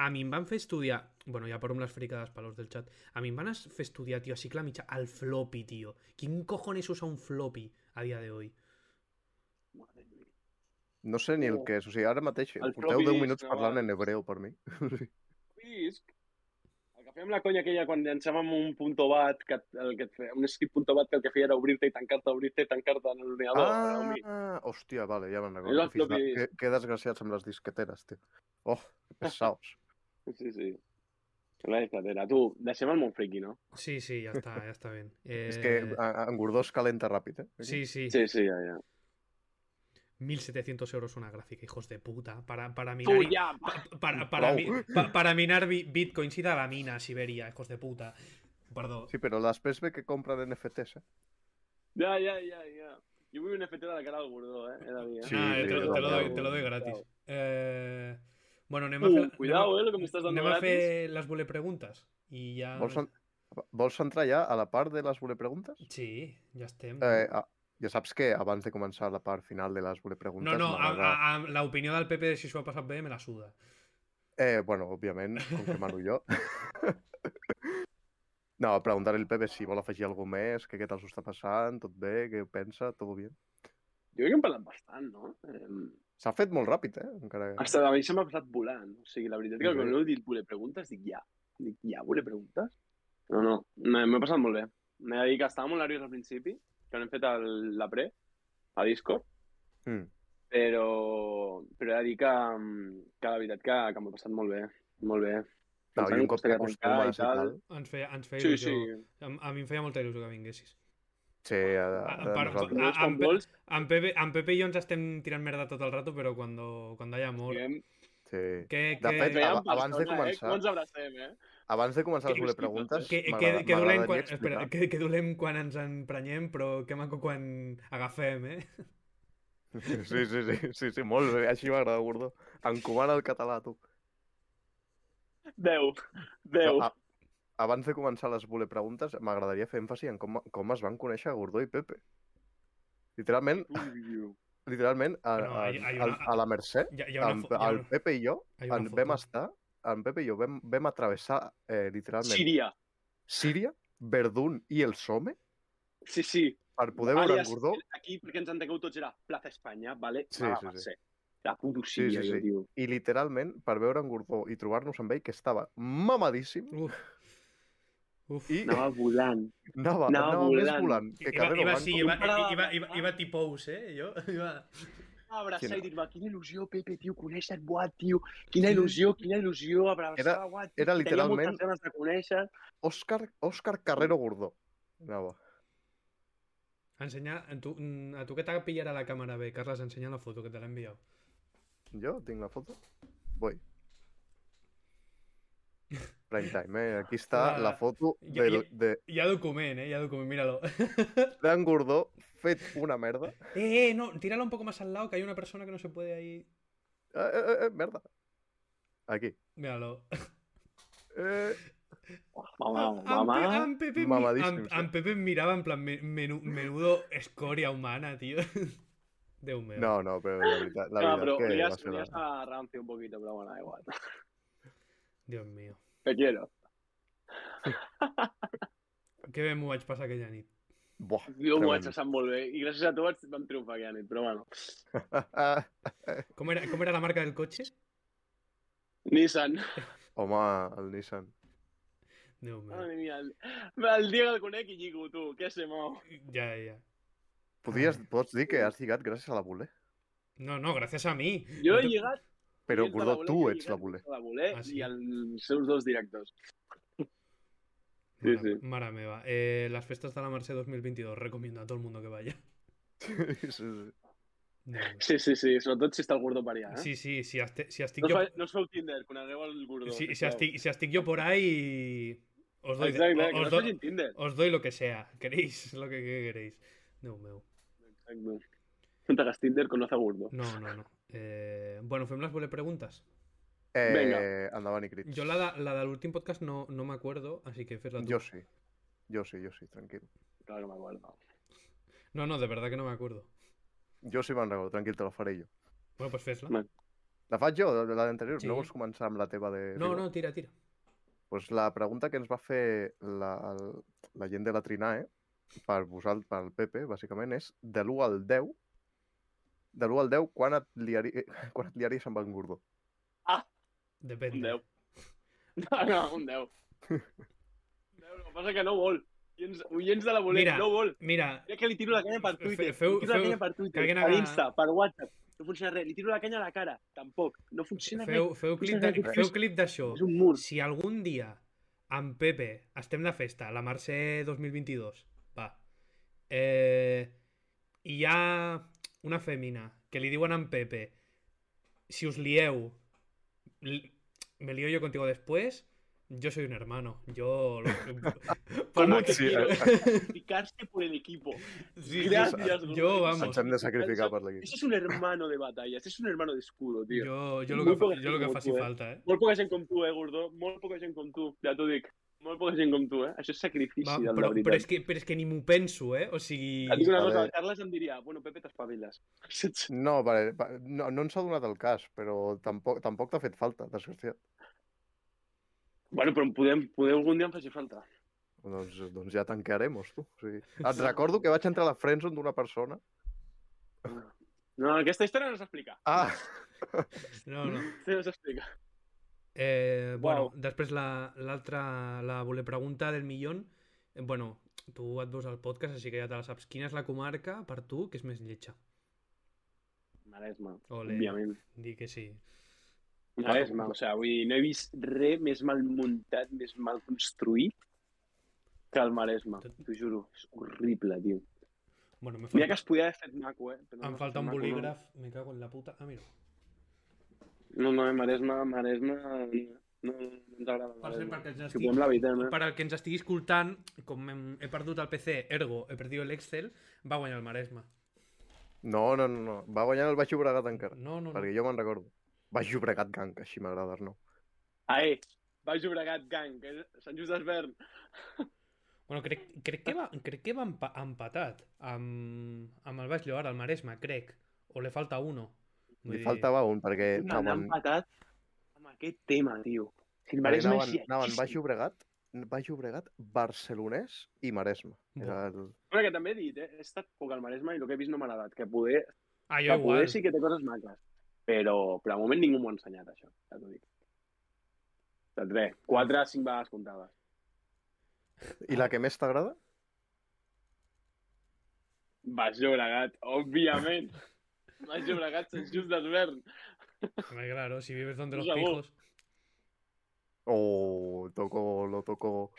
A mi em van fer estudiar... bueno, ja paro amb les fricades palos del chat. A mi em van es- fer estudiar, tio, a cicle mitjà, el floppy, tio. Quin cojones usa un floppy a dia de hoy?
Madre mía.
No sé ni el
Oh.
que és. O sigui, ara mateix
El
porteu
floppy
10
disk,
minuts
no,
parlant
vale.
en hebreu per mi.
Disc, el que fèiem la conya aquella quan llançàvem un punto bat, que, et- el que et feia, un script punto bat que el que feia era obrir-te i tancar-te, obrir-te i tancar-te en l'ordinador. era un mi-
Ah, hòstia, vale, ja me'n recordo. Que,
el
fins
floppy
la- que,
disk.
que desgraciats amb les disqueteres, tio. Oh, que pesaos.
Sí, sí. La discatera. Tu, deixem el món friki, no?
Sí, sí, ja està, ja està ben. Eh,
És que ah, a- a- en Gordó es calenta ràpid, eh?
Sí, sí,
Sí, sí, ja, ja.
1.700 euros una gráfica, hijos de puta. Para, para minar...
Tu,
i-
ja, va,
Pa- para, para,
Prou.
mi- pa- para minar bi- bitcoins y da la mina a Siberia, hijos de puta. Perdón.
Sí, però després ve que compren NFTs, eh?
Ja, ja, ja, ja. Jo vull un FT de la cara al Gordó, eh? Era mía.
Sí,
ah,
sí,
te, lo,
no,
te lo doy,
no.
te lo doy gratis. Eh, bueno, anem a
Uh,
fer... anem a-
cuidado, eh, lo que me estás dando
anem a
gratis.
fer les voler preguntes. I ja...
Vols, en... Vols entrar ja a la part de les voler preguntes?
Sí, ja estem.
Eh, a... Ja saps que abans de començar la part final de les voler preguntes...
no, no, a,
m'agrada-
a, a, l'opinió del PP de si s'ho ha passat bé me la suda.
Eh, bueno, òbviament, com que mano jo. no, preguntar al Pepe si vol afegir alguna més, que què tal s'ho està passant, tot bé, què pensa, tot bé.
Jo crec que hem parlat bastant, no? Eh,
S'ha fet molt ràpid, eh? Encara... que-
hasta a mi se m'ha passat volant. O sigui, la veritat que
Sí.
quan heu dit voler preguntes, dic ja. Dic ja, voler preguntes? No, no, m'he m'he passat molt bé. M'he de dir que estava molt nerviós al principi, que no hem fet el, la pre, a Discord,
Mm.
però, però he de dir que, mm, que la veritat que, que m'ho he passat molt bé. Molt bé.
No,
Pensant
i
en
un cop
costa de arrencar
t'acostumes i tal...
Ens feia, ens feia
Sí,
il·lusió.
sí.
A, a mi em feia molta il·lusió que vinguessis.
Sí, a, a, a
Ah, per-
nosaltres.
Ah,
Ah,
amb
amb
Pe-
vols,
En Pepe, en Pepe i jo ens estem tirant merda tot el rato, però cuando, cuando haya amor...
diguem,
Sí. De
Que, que,
fet,
veiem
Eh, ab- abans de
persona, Eh?
començar-
Com ens abracem, eh?
Abans de començar les
Que-
voler
que-
preguntes,
que, que,
m'agrada-
que dolent
m'agradaria
quan,
explicar.
espera, que, que dolent quan ens emprenyem, però que maco quan agafem, eh?
Sí, sí, sí, sí, sí, molt bé, així m'agrada, Gordó. Encomana el català, tu.
Déu, Déu.
No, a- abans de començar les voler preguntes, m'agradaria fer èmfasi en com, com es van conèixer Gordó i Pepe. Literalment,
Ui,
literalment, a,
Bueno,
a,
hi- hi ha
al-
una-
a la Mercè,
Hi, ha- hi ha una,
en,
fo- hi ha
el
una,
Pepe i jo
hi ha una
en vam
foto.
estar, en Pepe i jo vam, vam atravessar eh, literalment Síria.
Síria.
Verdun i el Somme
Sí, sí.
per poder veure
Àlies,
en Gordó
Aquí, perquè ens entengueu tots, era Plaza Espanya, vale?
Sí,
Ah,
sí,
va
sí.
ser. La puto Síria,
sí,
jo,
sí.
tio.
i literalment per veure en Gordó i trobar-nos amb ell que estava mamadíssim
Uf. Uf.
i
Anava volant.
anava,
anava
anava més
volant.
volant que
Iba,
Carrero
iba,
Blanco.
sí, iba,
Comparada-
iba, iba, iba tipous, eh? Jo, iba...
Abraçar
Sí, no.
i dir-me, quina il·lusió, "Ah, Pepe, tio, conèixer-et, buà, tio. Quina il·lusió, quina il·lusió, abraçar,
Era-
buà, tio.
era
Tenia
literalment-
moltes ganes de conèixer.
Òscar, Òscar Carrero Gordó anava.
Ensenyar, tu, mm, a tu que t'ha pillat a la càmera bé, Carles, ensenya la foto que te l'he enviat.
Jo tinc la foto. Voy. Prime time, eh? Aquí està
Hola.
la foto
Jo-
del,
jo-
de
Hi ha document, eh? Hi ha document, míralo.
d'en Gordó fet una merda.
Eh, eh, no, tíralo un poco más al lado, que hay una persona que no se puede ahí...
Eh, eh, eh, merda. Aquí.
Míralo.
Eh,
Mamà,
En Ah, Pe-
mamà.
en Pepe, mi-
Mamadíssim,
en-
sí.
en Pepe em mirava en plan me- menu- menudo escoria humana, tío. Déu meu.
no, no, però la veritat, la
No,
veritat
però
que
olies,
va ser
olies
la...
a rancio un poquito, però bueno, da igual.
Dios mío.
Te quiero.
Que bé m'ho vaig passar aquella nit.
Buah,
Jo m'ho vaig
tremendo.
passar molt bé i gràcies a tu vaig, vam triomfar aquella nit, però bueno.
Ah,
Com era, com era la marca del cotxe?
Nissan.
Home, el Nissan.
Déu meu.
Madre mía, el, el Diego el conec i lligo, tu, què sé, mau.
Ja, ja.
Podries,
Ai.
pots dir que has lligat gràcies a la voler.
No, no, gràcies a mi.
Jo
No
he
te-
lligat
Però,
Ells de
Gordó,
voler,
tu
jo he
ets la
lligat
voler.
de La voler
Ah, sí?
i els seus dos directors. Sí,
Mare,
sí.
mare meva. Eh, las fiestas de la Mercè 2022. Recomiendo a todo el mundo que vaya.
Sí, sí, sí.
Déu meu.
Sí, sí, sí, sobretot si està el gordo per allà. Eh?
Sí, sí, si, este, si estic
no, us
jo...
fa, no us feu Tinder, conegueu el gordo.
Si, si,
sisplau.
estic, si estic jo por ahí... Os doy, de-
Exacte, que no
os,
us
doy,
facin Tinder.
os doy lo que sea. Queréis lo que, que queréis. Déu meu.
Exacte. No te hagas Tinder, conoce a gordo.
No, no, no. Eh, bueno, fem les voler preguntes.
Eh,
Vinga.
Endavant i crits.
Yo la, de- la del último podcast no, no me acuerdo, así que fes-la tú.
Jo sí. Jo sí, jo sí, tranquil.
Claro que m'acuerdo.
No, no, de verdad que no me acuerdo.
Jo sí me'n recordo, tranquil, te la faré jo.
Bueno, pues fesla.
Vale.
La faig jo, la d'anterior?
Sí.
No vols començar amb la teva de...
No, no, tira, tira.
Pues la pregunta que ens va fer la, el- la gent de la Trinae, per vosaltres, pel Pepe, bàsicament, és de l'1 al 10, de l'1 al 10, quan et, liari... quan et liaries amb en Gordó?
Un
Depende.
10. No, no, un 10. Un 10, el que passa que no vol. Oients, oients de la voler,
Mira.
no vol.
Mira,
Mira que li tiro la canya per
Fe-
Twitter,
feu-
li tiro la
feu-
canya per
que
Twitter,
alguien
per
haga-
Insta, per WhatsApp. No funciona res, li tiro la canya a la cara, tampoc. No funciona res,
feu, feu clip,
Funciona
de,
res.
feu clip d'això.
és un mur.
Si algun dia amb Pepe estem de festa, la Mercè 2022, va, eh, hi ha una fèmina que li diuen a en Pepe si us lieu, li- me lío yo contigo después, Yo soy un hermano. Yo. lo- por
¿Cómo
lo que
sí,
quiero.
eh?
Sacrificarse por el equipo.
Sí, sí,
Gracias.
Gracias,
Yo,
Gorka.
vamos.
Ens hem de sacrificar per l'equip.
Eso es un hermano de batallas, es un hermano de escudo, tío.
Yo, yo lo
Muy
que, fa-
poca
yo lo que
gent com
faci
tu, eh?
falta, eh?
Molt poca gent com tu, eh, Gordó? Molt poca gent com tu, ja t'ho dic. Molt poca gent com tu, eh? Això és sacrifici,
Va,
de la
però, però, és
veritat.
que, però és que ni m'ho penso, eh? O sigui...
Et dic una
A
cosa,
veure.
el Carles em diria, bueno, Pepe, t'espaviles. Saps?
No, vale, va- no, no ens ha donat el cas, però tampoc tampoc t'ha fet falta, desgraciat.
Bueno, però em podem, poder algun dia em faci falta.
Doncs, doncs ja tancaremos, tu. O sigui, et recordo que vaig entrar a la friendzone d'una persona.
No, aquesta història no s'explica.
Ah!
No, no.
Sí, no s'explica.
Eh, bueno,
Uau.
després la- l'altra, la, voler pregunta del millón. Eh, Bueno, tu et veus al podcast, així que ja te la saps. Quina és la comarca per tu que és més lletja?
Maresme,
Ole. Ah.
òbviament.
Di que sí.
Maresme, o sigui, vull dir, no he vist res més mal muntat, més mal construït que el Maresme, t'ho juro. És horrible, tio.
Bueno, me falta,
Mira que es podia haver fet maco, eh? Però no,
em
no,
falta un
maco no.
bolígraf. Me cago en la puta. Ah, mira.
No, no, Maresme, Maresme... No, no, no ens agrada
Per cert,
Maresme.
perquè ens
Si
estigui,
podem l'evitem, eh?
per al que ens estigui escoltant, com hem, he perdut el PC, ergo, he perdut l'Excel, va guanyar el Maresme.
No, no, no, no. Va guanyar el Baix Llobregat encara,
No, no, no.
perquè jo me'n recordo. Baix Llobregat Gank, així m'agrada, Arnau.
Ae, Baix Ah, eh, Llobregat, gang, que és Sant Just d'Esvern.
Bueno, crec, crec, que va, crec que va empa empatat amb, amb el Baix Lloar, el Maresme, crec. O li falta uno.
Li faltava un, perquè
M'han
anaven,
empatat amb aquest tema, tio. Si el
perquè
Maresme
anaven,
és
anaven Baix
lletjíssim.
Llobregat, Baix Llobregat, Barcelonès i Maresme. Era el...
Però que també he dit, eh? he estat poc al Maresme i el que he vist no m'ha agradat, que poder,
Ah,
que
jo
poder
igual.
sí que té coses maques. Però, però de moment ningú m'ho ha ensenyat, això, ja t'ho dic. Saps bé, 4 a 5 vegades comptaves.
I la que més t'agrada?
Baix Llobregat, òbviament. Baix Llobregat, Sant Just d'Esvern.
Hombre, claro, si vives donde
Un
los
sabor.
pijos.
Oh, toco, lo toco.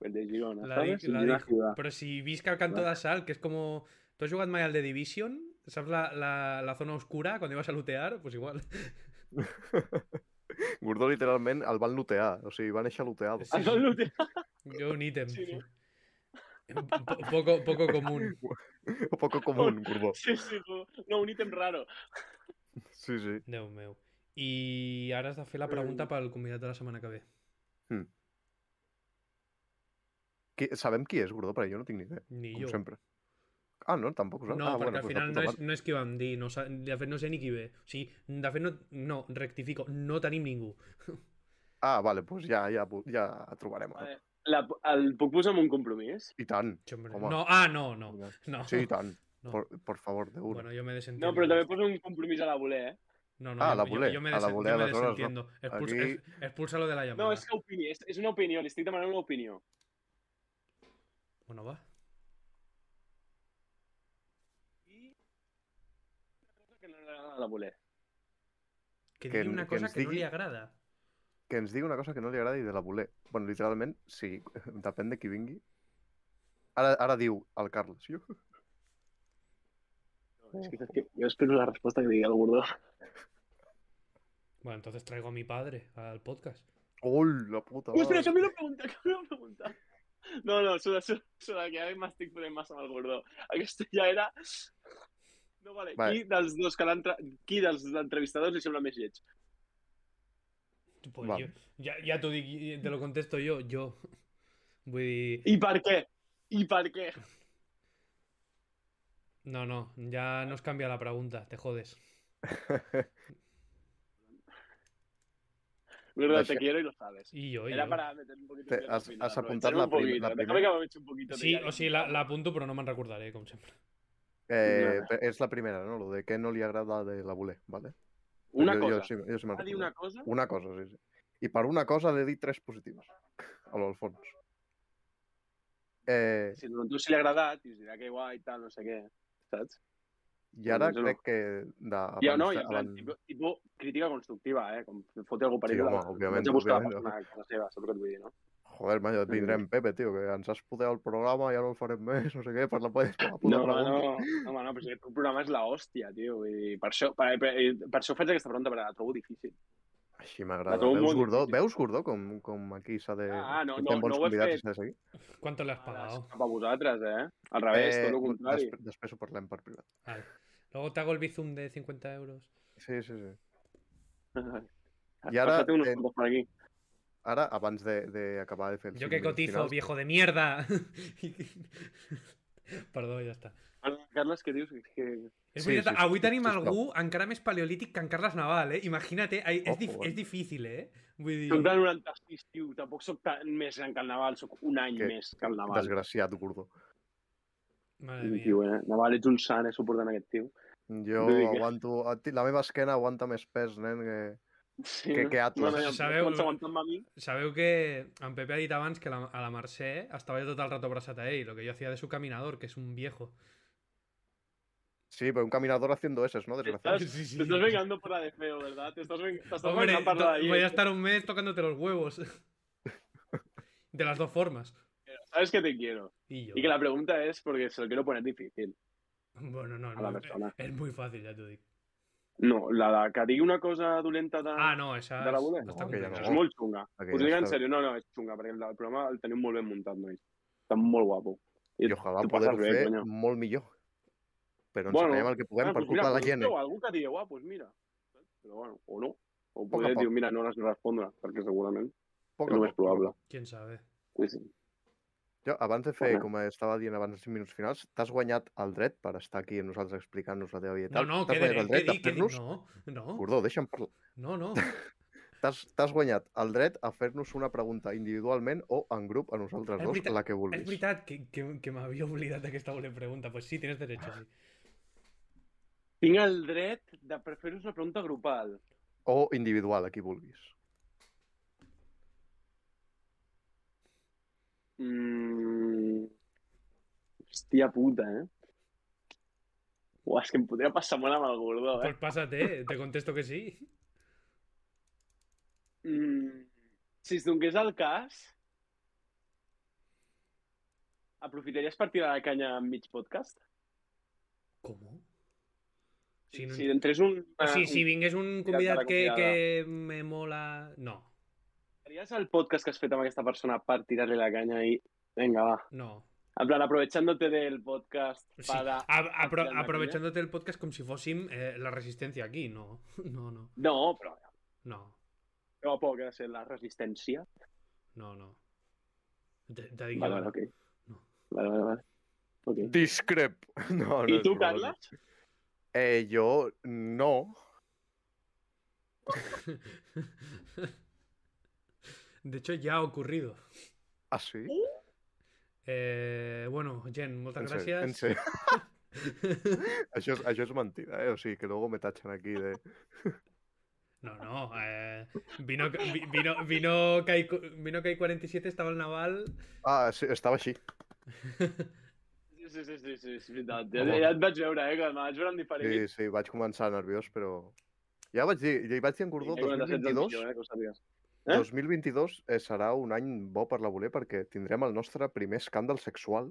El de Girona,
La
¿sabes?
dic, la
Girona
dic.
ciudad.
Però si visc al cantó de Sal, que és com... Tu has jugat mai al The Division? Saps la, la, la zona oscura, quan ibas a lootear? Pues igual.
Gordó literalment el van lutear, o sigui, va néixer luteado.
Sí.
Ah, no, no,
Jo un ítem. Eh,
Sí, no?
Po- Poco, poco común.
Un poco común,
Oh.
Gordó.
Sí, sí, no, no, un ítem raro.
Sí, sí.
Déu meu. I ara has de fer la pregunta pel convidat de la setmana que ve.
Qui, sabem qui és, Gordó, perquè jo no tinc ni idea,
Ni
com
jo.
sempre. Ah, no? Tampoc ho saps?
No,
ah,
perquè al
pues la
final
puta
no, és,
mare.
no és qui vam dir. No, sa- de fet, no sé ni qui ve. O sigui, de fet, no, no rectifico. No tenim ningú.
Ah, vale, doncs pues ja, ja, pu- ja trobarem.
A veure, La, el puc posar en un compromís?
I tant.
Això, hombre,
Home.
No, ah, no, no. no.
Sí, i tant.
No.
Por, por favor, de una.
Bueno, jo me desentiendo.
No, però també poso un compromís a la voler, eh?
No, no,
Ah,
yo-
a la
yo-
volea,
yo me
a la
desen- yo
volea
me
las horas, ¿no?
desentiendo. Expulsa,
Aquí-
ex- expúlsalo de la llamada.
No, és que opini, és, és una opinió, li estic demanant una opinió.
Bueno, va.
I una cosa que no li agrada a la voler.
Que
Que
digui
n-
una
que
cosa
ens
que no
digui-
le agrada.
Que ens digui una cosa que no li agrada i de la voler. Bueno, literalment, sí, depèn de qui vingui. Ara, ara diu el Carles. Jo.
No, és que,
Oh.
és que jo espero la resposta que digui el gordó.
Bueno, entonces traigo a mi padre al podcast.
Oh, la puta
No, espera,
mare.
que m'he de preguntar, que m'he de preguntar. No, no, sobre, sobre, sobre que ara m'estic fotent massa amb el gordó. Aquesta ja era... No, vale.
Vale.
Qui dels dos que l'han... tra- Qui dels entrevistadors li sembla més lleig?
Pues
Vale.
yo- ya, ya tú di- te lo contesto yo. Yo. Voy-
I per què? I per què?
No, no, ya nos cambia la pregunta, te jodes.
Gordó,
Deixa-
te quiero y lo sabes.
Y yo, y
Era
yo.
para meter un poquito
Te-
de
has-
final,
has
però
apuntat
deixar-me
la
un
prim-
poquito,
la
déjame
primera.
que m'he hecho un poquito de
Sí,
cariño.
o sí, la, la apunto, pero no me recordaré, como siempre.
Eh,
Vale.
pe- és la primera, no? Lo de què no li agrada de la voler, vale?
Una
jo,
cosa.
Jo, sí, jo sí me'n
Ha dit
recordo.
una cosa?
Una cosa, sí, sí. I per una cosa li he dit tres positives, a l'Alfons. Eh,
Si no, tu si li ha agradat, i us dirà que guai, tal, no sé què, saps?
I ara
doncs no.
crec que... De,
I ja no, i en
abans-
plan,
abans-
tipo, tipo, crítica constructiva, eh? Com fot algú per
Sí,
ella,
home,
la-
òbviament,
vaig a buscar la
òbviament,
persona que la seva, saps el que et vull dir, no?
Joder, man, et vindrem, Pepe, tio, que ens has puteat el programa, ja no el farem més, no sé què, per la, per la puta
No, no,
pregunta.
no, home, no, però si aquest programa és l'hòstia, tio, vull dir, per això, per, per, per això faig aquesta pregunta, perquè la trobo difícil.
Així m'agrada.
tot el
Veus,
món.
Gordó? Veus, Gordó, com, com aquí s'ha de...
Ah, no,
que
no,
tenen bons
no ho he
convidats
fet.
i s'ha de seguir?
¿Cuánto le has
Ara,
pagado?
cap a vosaltres, eh? Al revés, tot el contrari.
Després, després ho parlem per privat.
Vale. Luego te hago el bizum de 50 euros.
Sí, sí, sí.
Després...
I ara,
unos
eh,
eh... per aquí.
Ara, abans de- d'acabar de, fer el
Yo que cotizo, viejo de mierda. Perdón, ya está.
Ara, Carles, què dius? Que...
Es
Sí,
veritat,
sí, sí,
avui
sí,
tenim
sí, sí,
algú encara més paleolític que en Carles Naval, eh? Imagina't, eh? Ai, és,
Ojo,
dif
eh?
és difícil, eh? Vull dir...
Soc del 96, tio. Tampoc soc tan més gran que el Naval. Soc un any
Que-
més que el Naval.
Desgraciat, Gordo.
Madre
Un
mía.
tio, eh? Naval, ets un sant, eh? Suportant aquest tio.
Jo
Vull dir que-
aguanto... a ti- La meva esquena aguanta més pes, nen, que...
Sí,
Que- que Atlas.
Sabeu-
Sabeu... Quan s'aguantant a mi,
Sabeu que en Pepe ha dit abans que la- a la Mercè estava jo tot el rato abrazat a ell, lo que yo hacía de su caminador, que es un viejo.
Sí, pero un caminador haciendo eses, ¿no? Desgraciado.
Estás-
Sí, sí.
te estás vengando por la de feo, ¿verdad? Te estás, ven- te estás
Hombre,
vengando por
to-
la de
voy a
ayer.
estar un mes tocándote los huevos. De las dos formas.
Sabes que te quiero.
Y yo.
Y que la pregunta es porque se lo quiero poner difícil.
Bueno, no,
a la
no,
persona.
Es muy fácil, ya te digo.
No, la de que digui una cosa dolenta de...
Ah, no, esa
de la
es-
bola?
està
No, que ja no.
És
complicada.
molt xunga.
Aquella
Us ho dic en
està-
sèrio, no, no, és xunga, perquè el, el programa el tenim molt ben muntat, nois. Està molt guapo.
I ojalà
t'ho
poder
passes bé,
fer
coño.
molt millor. Però ens
Bueno, ah,
bueno, el que puguem per
pues
culpa de la
coneixeu
gent. eh?
Algú que digui, ah, pues mira. Però bueno, o no. O
poc.
poder dir, mira, no les respondre, perquè segurament
Poc
és
a
el més
poc.
probable.
¿Quién sabe?
Sí, sí.
Jo, abans de fer,
Home.
com estava dient abans dels 5 minuts finals, t'has guanyat el dret per estar aquí amb nosaltres explicant-nos la teva vida. i
No,
tal.
no,
T'has
que
guanyat
de,
el
que
dret
di,
a
que di-
fer-nos...
No, no,
Gordó, deixa'm parlar.
no, no.
T'has t'has guanyat el dret a fer-nos una pregunta individualment o en grup a nosaltres
És
dos,
veritat-
la que
Es
vulguis.
verdad que, que, que me había olvidado de que esta doble pregunta. Pues sí, tienes derecho, sí.
Ah, Tinc el dret de fer-vos una pregunta grupal.
O individual, a qui vulguis.
Mm... Hòstia puta, eh? Uah, és que em podria passar molt amb el gordó, eh?
Pues pásate, te contesto que sí.
Mm... Si es donés el cas, aprofitaries per tirar la canya en mig podcast?
¿Cómo? Si
Si,
no- Ah,
si entrés un... eh,
O sigui,
un-
si vingués un
Convidat
convidat
para
que,
convidada.
que me mola... No,
Faries el podcast que has fet amb aquesta persona per tirar-li la canya i... Vinga, va.
no.
En plan, aprovechándote del podcast
Sí,
para...
a- apro-
tirar la
aprovechándote el podcast como si fósim eh, la resistencia aquí. No, no, no,
canya. No, però...
no,
No, poc, ha de ser la resistència.
no, no. Te, te dic jo,
Vale, vale, ok.
No.
Vale, vale, vale. Ok.
Discrep! No, no
¿Y
és
tú,
broma.
Carla?
Eh, jo no.
De hecho, ya ha ocurrido.
Ah, sí?
Eh, bueno, Jen, muchas
En serio,
gracias.
en serio. Això és, això és mentida, eh? O sigui, que luego me tachan aquí de...
No, no. eh, vino, vi- vino, vino, Kai, vino Kai 47, estaba el Naval.
Ah, sí, estava així.
Sí, sí, sí, sí, sí, és veritat. Ja, ja et vaig veure, eh, que em vaig veure en diferent.
Sí, sí, vaig començar nerviós, però... Ja vaig dir, ja hi vaig dir en Gordó, 2022,
Millor, eh, que ho sàpigues. eh?
2022 eh, serà un any bo per la voler perquè tindrem el nostre primer escàndal sexual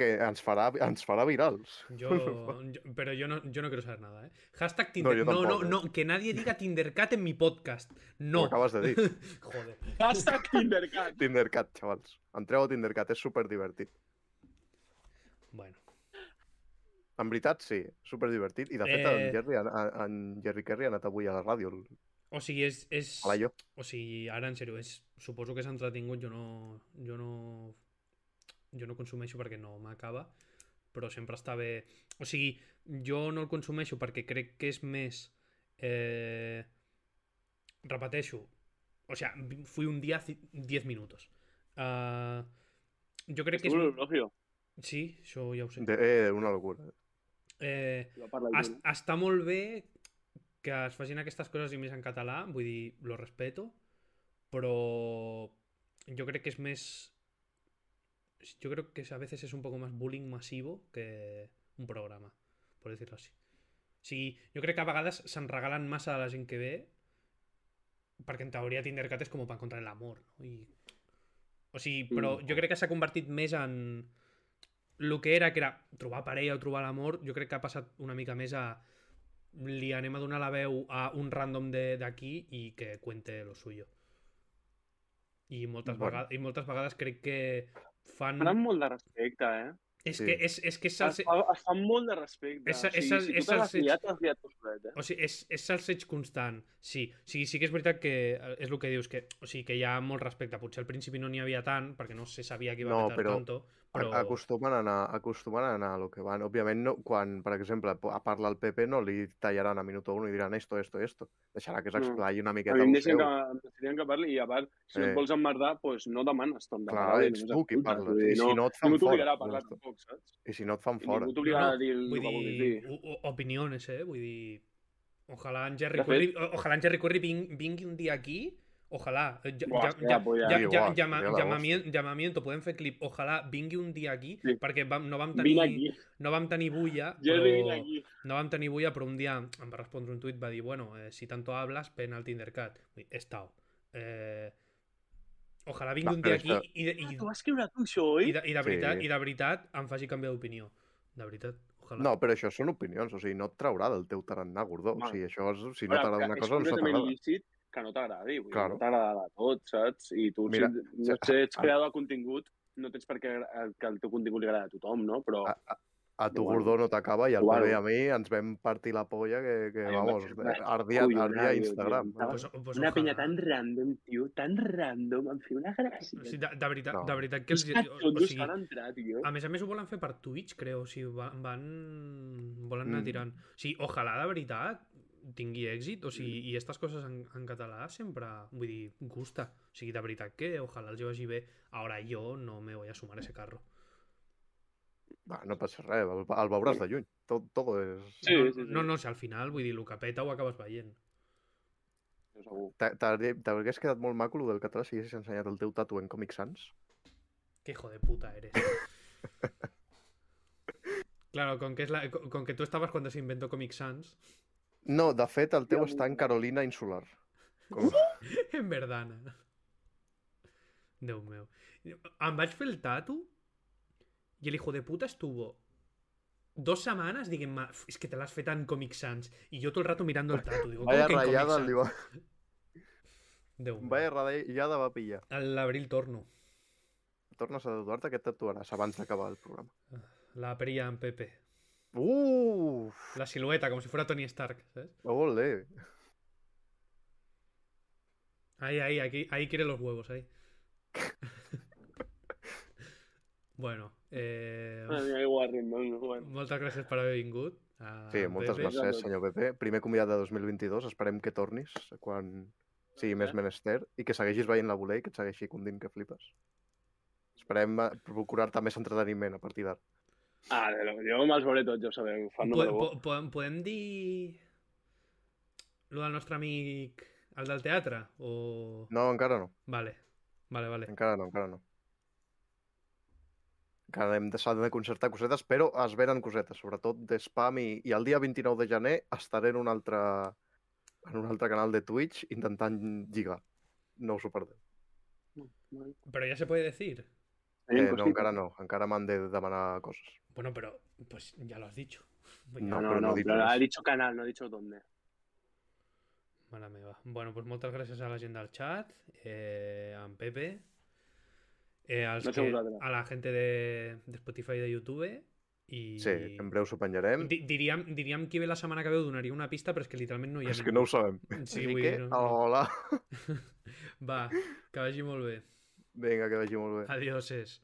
que ens farà, ens farà virals.
Yo, yo- pero yo no, yo no quiero saber nada, ¿eh? Hashtag
No,
Tinder.
yo
No, no,
tampoco.
no, que nadie diga Tindercat en mi podcast.
Ho
No.
acabes de dir.
Joder.
Hashtag Tindercat.
Tindercat, xavals. Entreu a Tindercat, és superdivertit.
Bueno.
En veritat, sí, superdivertit. I de fet, eh...
Eh.
en, Jerry, en, en Jerry Kerry ha anat avui a la ràdio, el-
O sigui, és... és...
a la jo.
O sigui, ara, en sèrio, és... suposo que s'ha entretingut, jo no... Jo no... Jo no consumeixo perquè no m'acaba, però sempre està bé... O sigui, jo no el consumeixo perquè crec que és més... Eh... Repeteixo. O sigui, fui un dia 10 minuts. Uh... Jo crec que
Estuvo
és...
en l'orologio.
Sí, això ja ho sé.
De, eh, una locura.
Eh...
Lo parla
es, està molt bé que es facin aquestes coses i més en català, vull dir, lo respeto, però jo crec que és més... Jo crec que a veces és un poco más bullying masivo que un programa, por decirlo así. O sigui, jo crec que a vegades se'n regalen massa de la gent que ve perquè en teoria Tindercat és com per encontrar l'amor, no? I... O sigui, però
Mm.
jo crec que s'ha convertit més en el que era, que era trobar parella o trobar l'amor, jo crec que ha passat una mica més a li anem a donar la veu a un random de- d'aquí i que cuente lo suyo. I moltes,
Bueno.
vegades, i moltes vegades crec que fan...
Faran molt de respecte, eh?
És
Sí.
que és, és, que és el,
Es,
se-
fa, es fan molt de respecte.
Esa-
o sigui,
esa-
si
esa-
tu te l'has
esa-
liat, t'has liat tu solet, eh?
O sigui, és, és salseig constant, sí. O sigui, sí que és veritat que eh, és el que dius, que, o sigui, que hi ha molt respecte. Potser al principi no n'hi havia tant, perquè no se sabia que iba
No,
a petar
però
tanto, però...
Però... Acostumen a anar, acostumen a anar a lo que van. Òbviament, no, quan, per exemple, po- parla el PP, no li tallaran a minuto 1 i diran esto, esto, esto. Deixarà que s'explai una
Mm. A
miqueta
mi em
el seu.
deixen que, em deixarien que parli i a part, si no
Eh.
et vols emmerdar, doncs pues, no demanes tant de
Clar,
paraula i
ets
només
tu qui
escoltes,
parles,
vull dir,
i si no et fan
ningú t'obligarà
fora,
a parlar
doncs.
tampoc, saps?
I si no et fan
I
fora.
ningú t'obligarà
No,
a dir el
Vull
que vulguis
dir,
dir.
o- o- opinions, eh? Vull dir... Ojalà en Jerry
De fet-
Curry, o- ojalà en Jerry Curry ving- vingui un dia aquí, ojalà. Eh, Ja,
Buah,
ja,
seria
ja,
la polla,
ja,
eh?
ja,
Buah,
llama-
seria la
llamamien- llamamiento, podem fer clip. Ojalà vingui un dia aquí,
Sí.
perquè vam, no, vam
Vine
tenir,
aquí,
no vam tenir bulla,
Jerry, vine
però,
aquí.
no vam tenir bulla, però un dia em va respondre un tuit, va dir, bueno, eh, si tanto hablas, ven al Tindercat. Vull dir, He estado. Eh, ojalà vingui
Va,
un dia aquí
però
i, de-
Ah,
i,
t'ho vas escriure tu, això, oi?
i, de, i, de
Sí.
veritat, i de veritat em faci canviar d'opinió. De veritat, ojalà.
No, però això són opinions, o sigui, no et traurà del teu tarannà, gordó.
Home.
O sigui, això, és, si no
Ara,
t'agrada
que
una
és
cosa, doncs no
completament
t'agrada.
lícit que no t'agradi, vull dir,
Claro.
no t'agradarà tot, saps? I tu,
Mira, ah,
si, no
a-
sé, ets
a-
creador de contingut, no tens per què agra- que el teu contingut li agrada a tothom, no? Però
A, a, a tu,
Bueno.
gordó, no t'acaba i al
Bueno.
bebè a mi ens vam partir la polla que, que
Ai, em
vamos,
vaig- vaig
ardia,
acollonada,
ardia
tio,
Instagram.
tio, em
Pues, pues
una
ojalà.
penya tan random, tio, tan random, em feia una gràcia.
O sigui, de, de, veritat,
No.
de veritat que
Els
els... O, o,
cachondos
sigui,
que han entrat, tio.
a més a més ho volen fer per Twitch, creo. O sigui, va- van... Volen anar
Mm.
tirant. O sigui, ojalà de veritat tingui èxit. O
Mm.
sigui, i aquestes coses en, en català sempre... Vull dir, gusta. O sigui, de veritat que ojalà els hi vagi bé. Ahora yo no me voy a sumar a ese carro.
Va, no passa res, el, el veuràs de lluny. Tot, tot és...
Sí,
no,
sí, sí.
no, no, si al final, vull dir, el que peta ho acabes veient.
Segur.
T'ha- t'hauria- T'hauries quedat molt maco lo del català si haguessis ensenyat el teu tatu en Comic Sans?
Qué hijo de puta eres. claro, con que, es la- con con que tú estabas cuando se inventó Comic Sans.
No, de fet, el teu
Hòstia
està en
puta.
Carolina Insular. Com...
En verdana. Déu meu. Em vaig fer el tatu y el hijo de puta estuvo dos semanas diguem-me, "Uf, es que te l'has fet en Comic Sans. Y yo todo el rato mirando el tatu. Digo,
Vaya
"Com que en Comic
ratllada,
Sans?"
li va...
Déu meu.
Vaya ratllada va pillar.
L'abril torno.
Tornes a tatuar-te, què et tatuaràs abans d'acabar el programa?
La perilla en Pepe.
Uf!
La silueta, como si fuera Tony Stark, ¿sabes?
Olé!
Ahí, ahí, aquí, ahí quiere los huevos, ahí. bueno, eh,
Madre mía, qué guarrindón, no, bueno.
moltes gràcies per haver vingut. a
Sí,
en
moltes
Pepe.
gràcies,
Gràcies.
senyor Pepe. Primer convidat de 2022, esperem que tornis quan sigui més menester i que segueixis veient la voler i que et segueixi condint que flipes. Esperem eh, procurar-te més entreteniment a partir d'ara.
Ah, de lo que yo más sobre todo, yo sabeu, fan
Po-
número
po- po- podem dir... Lo del nostre amic... El del teatre? O...
No, encara no,
Vale, vale, vale.
encara no, encara no. Encara hem de, s'han de concertar cosetes, però es venen cosetes, sobretot de spam i, i el dia 29 de gener estaré en un altre, en un altre canal de Twitch intentant lligar. No us ho perdeu.
uno.
Però ja se puede decir.
Eh, no, encara no, encara m'han de demanar coses.
Bueno, pero pues ya lo has dicho. Vull dir,
No,
No, no,
pero no
no,
dices.
pero ha dicho canal, no ha dicho dónde.
Mare meva. Bueno, doncs moltes gràcies a la gent del chat, eh, a en Pepe, eh, als
No sé
que,
vosaltres.
a la gent de, de Spotify i de YouTube, i
Sí, en breu s'ho penjarem.
Di- diríem, diríem qui ve la setmana que veu donaria una pista, però és que literalment no hi ha
És que no ho
ningú.
sabem.
Sí,
Així
vull
que,
dir, no, no.
hola.
Va, que vagi molt bé.
Vinga, que vagi molt bé.
Adioses.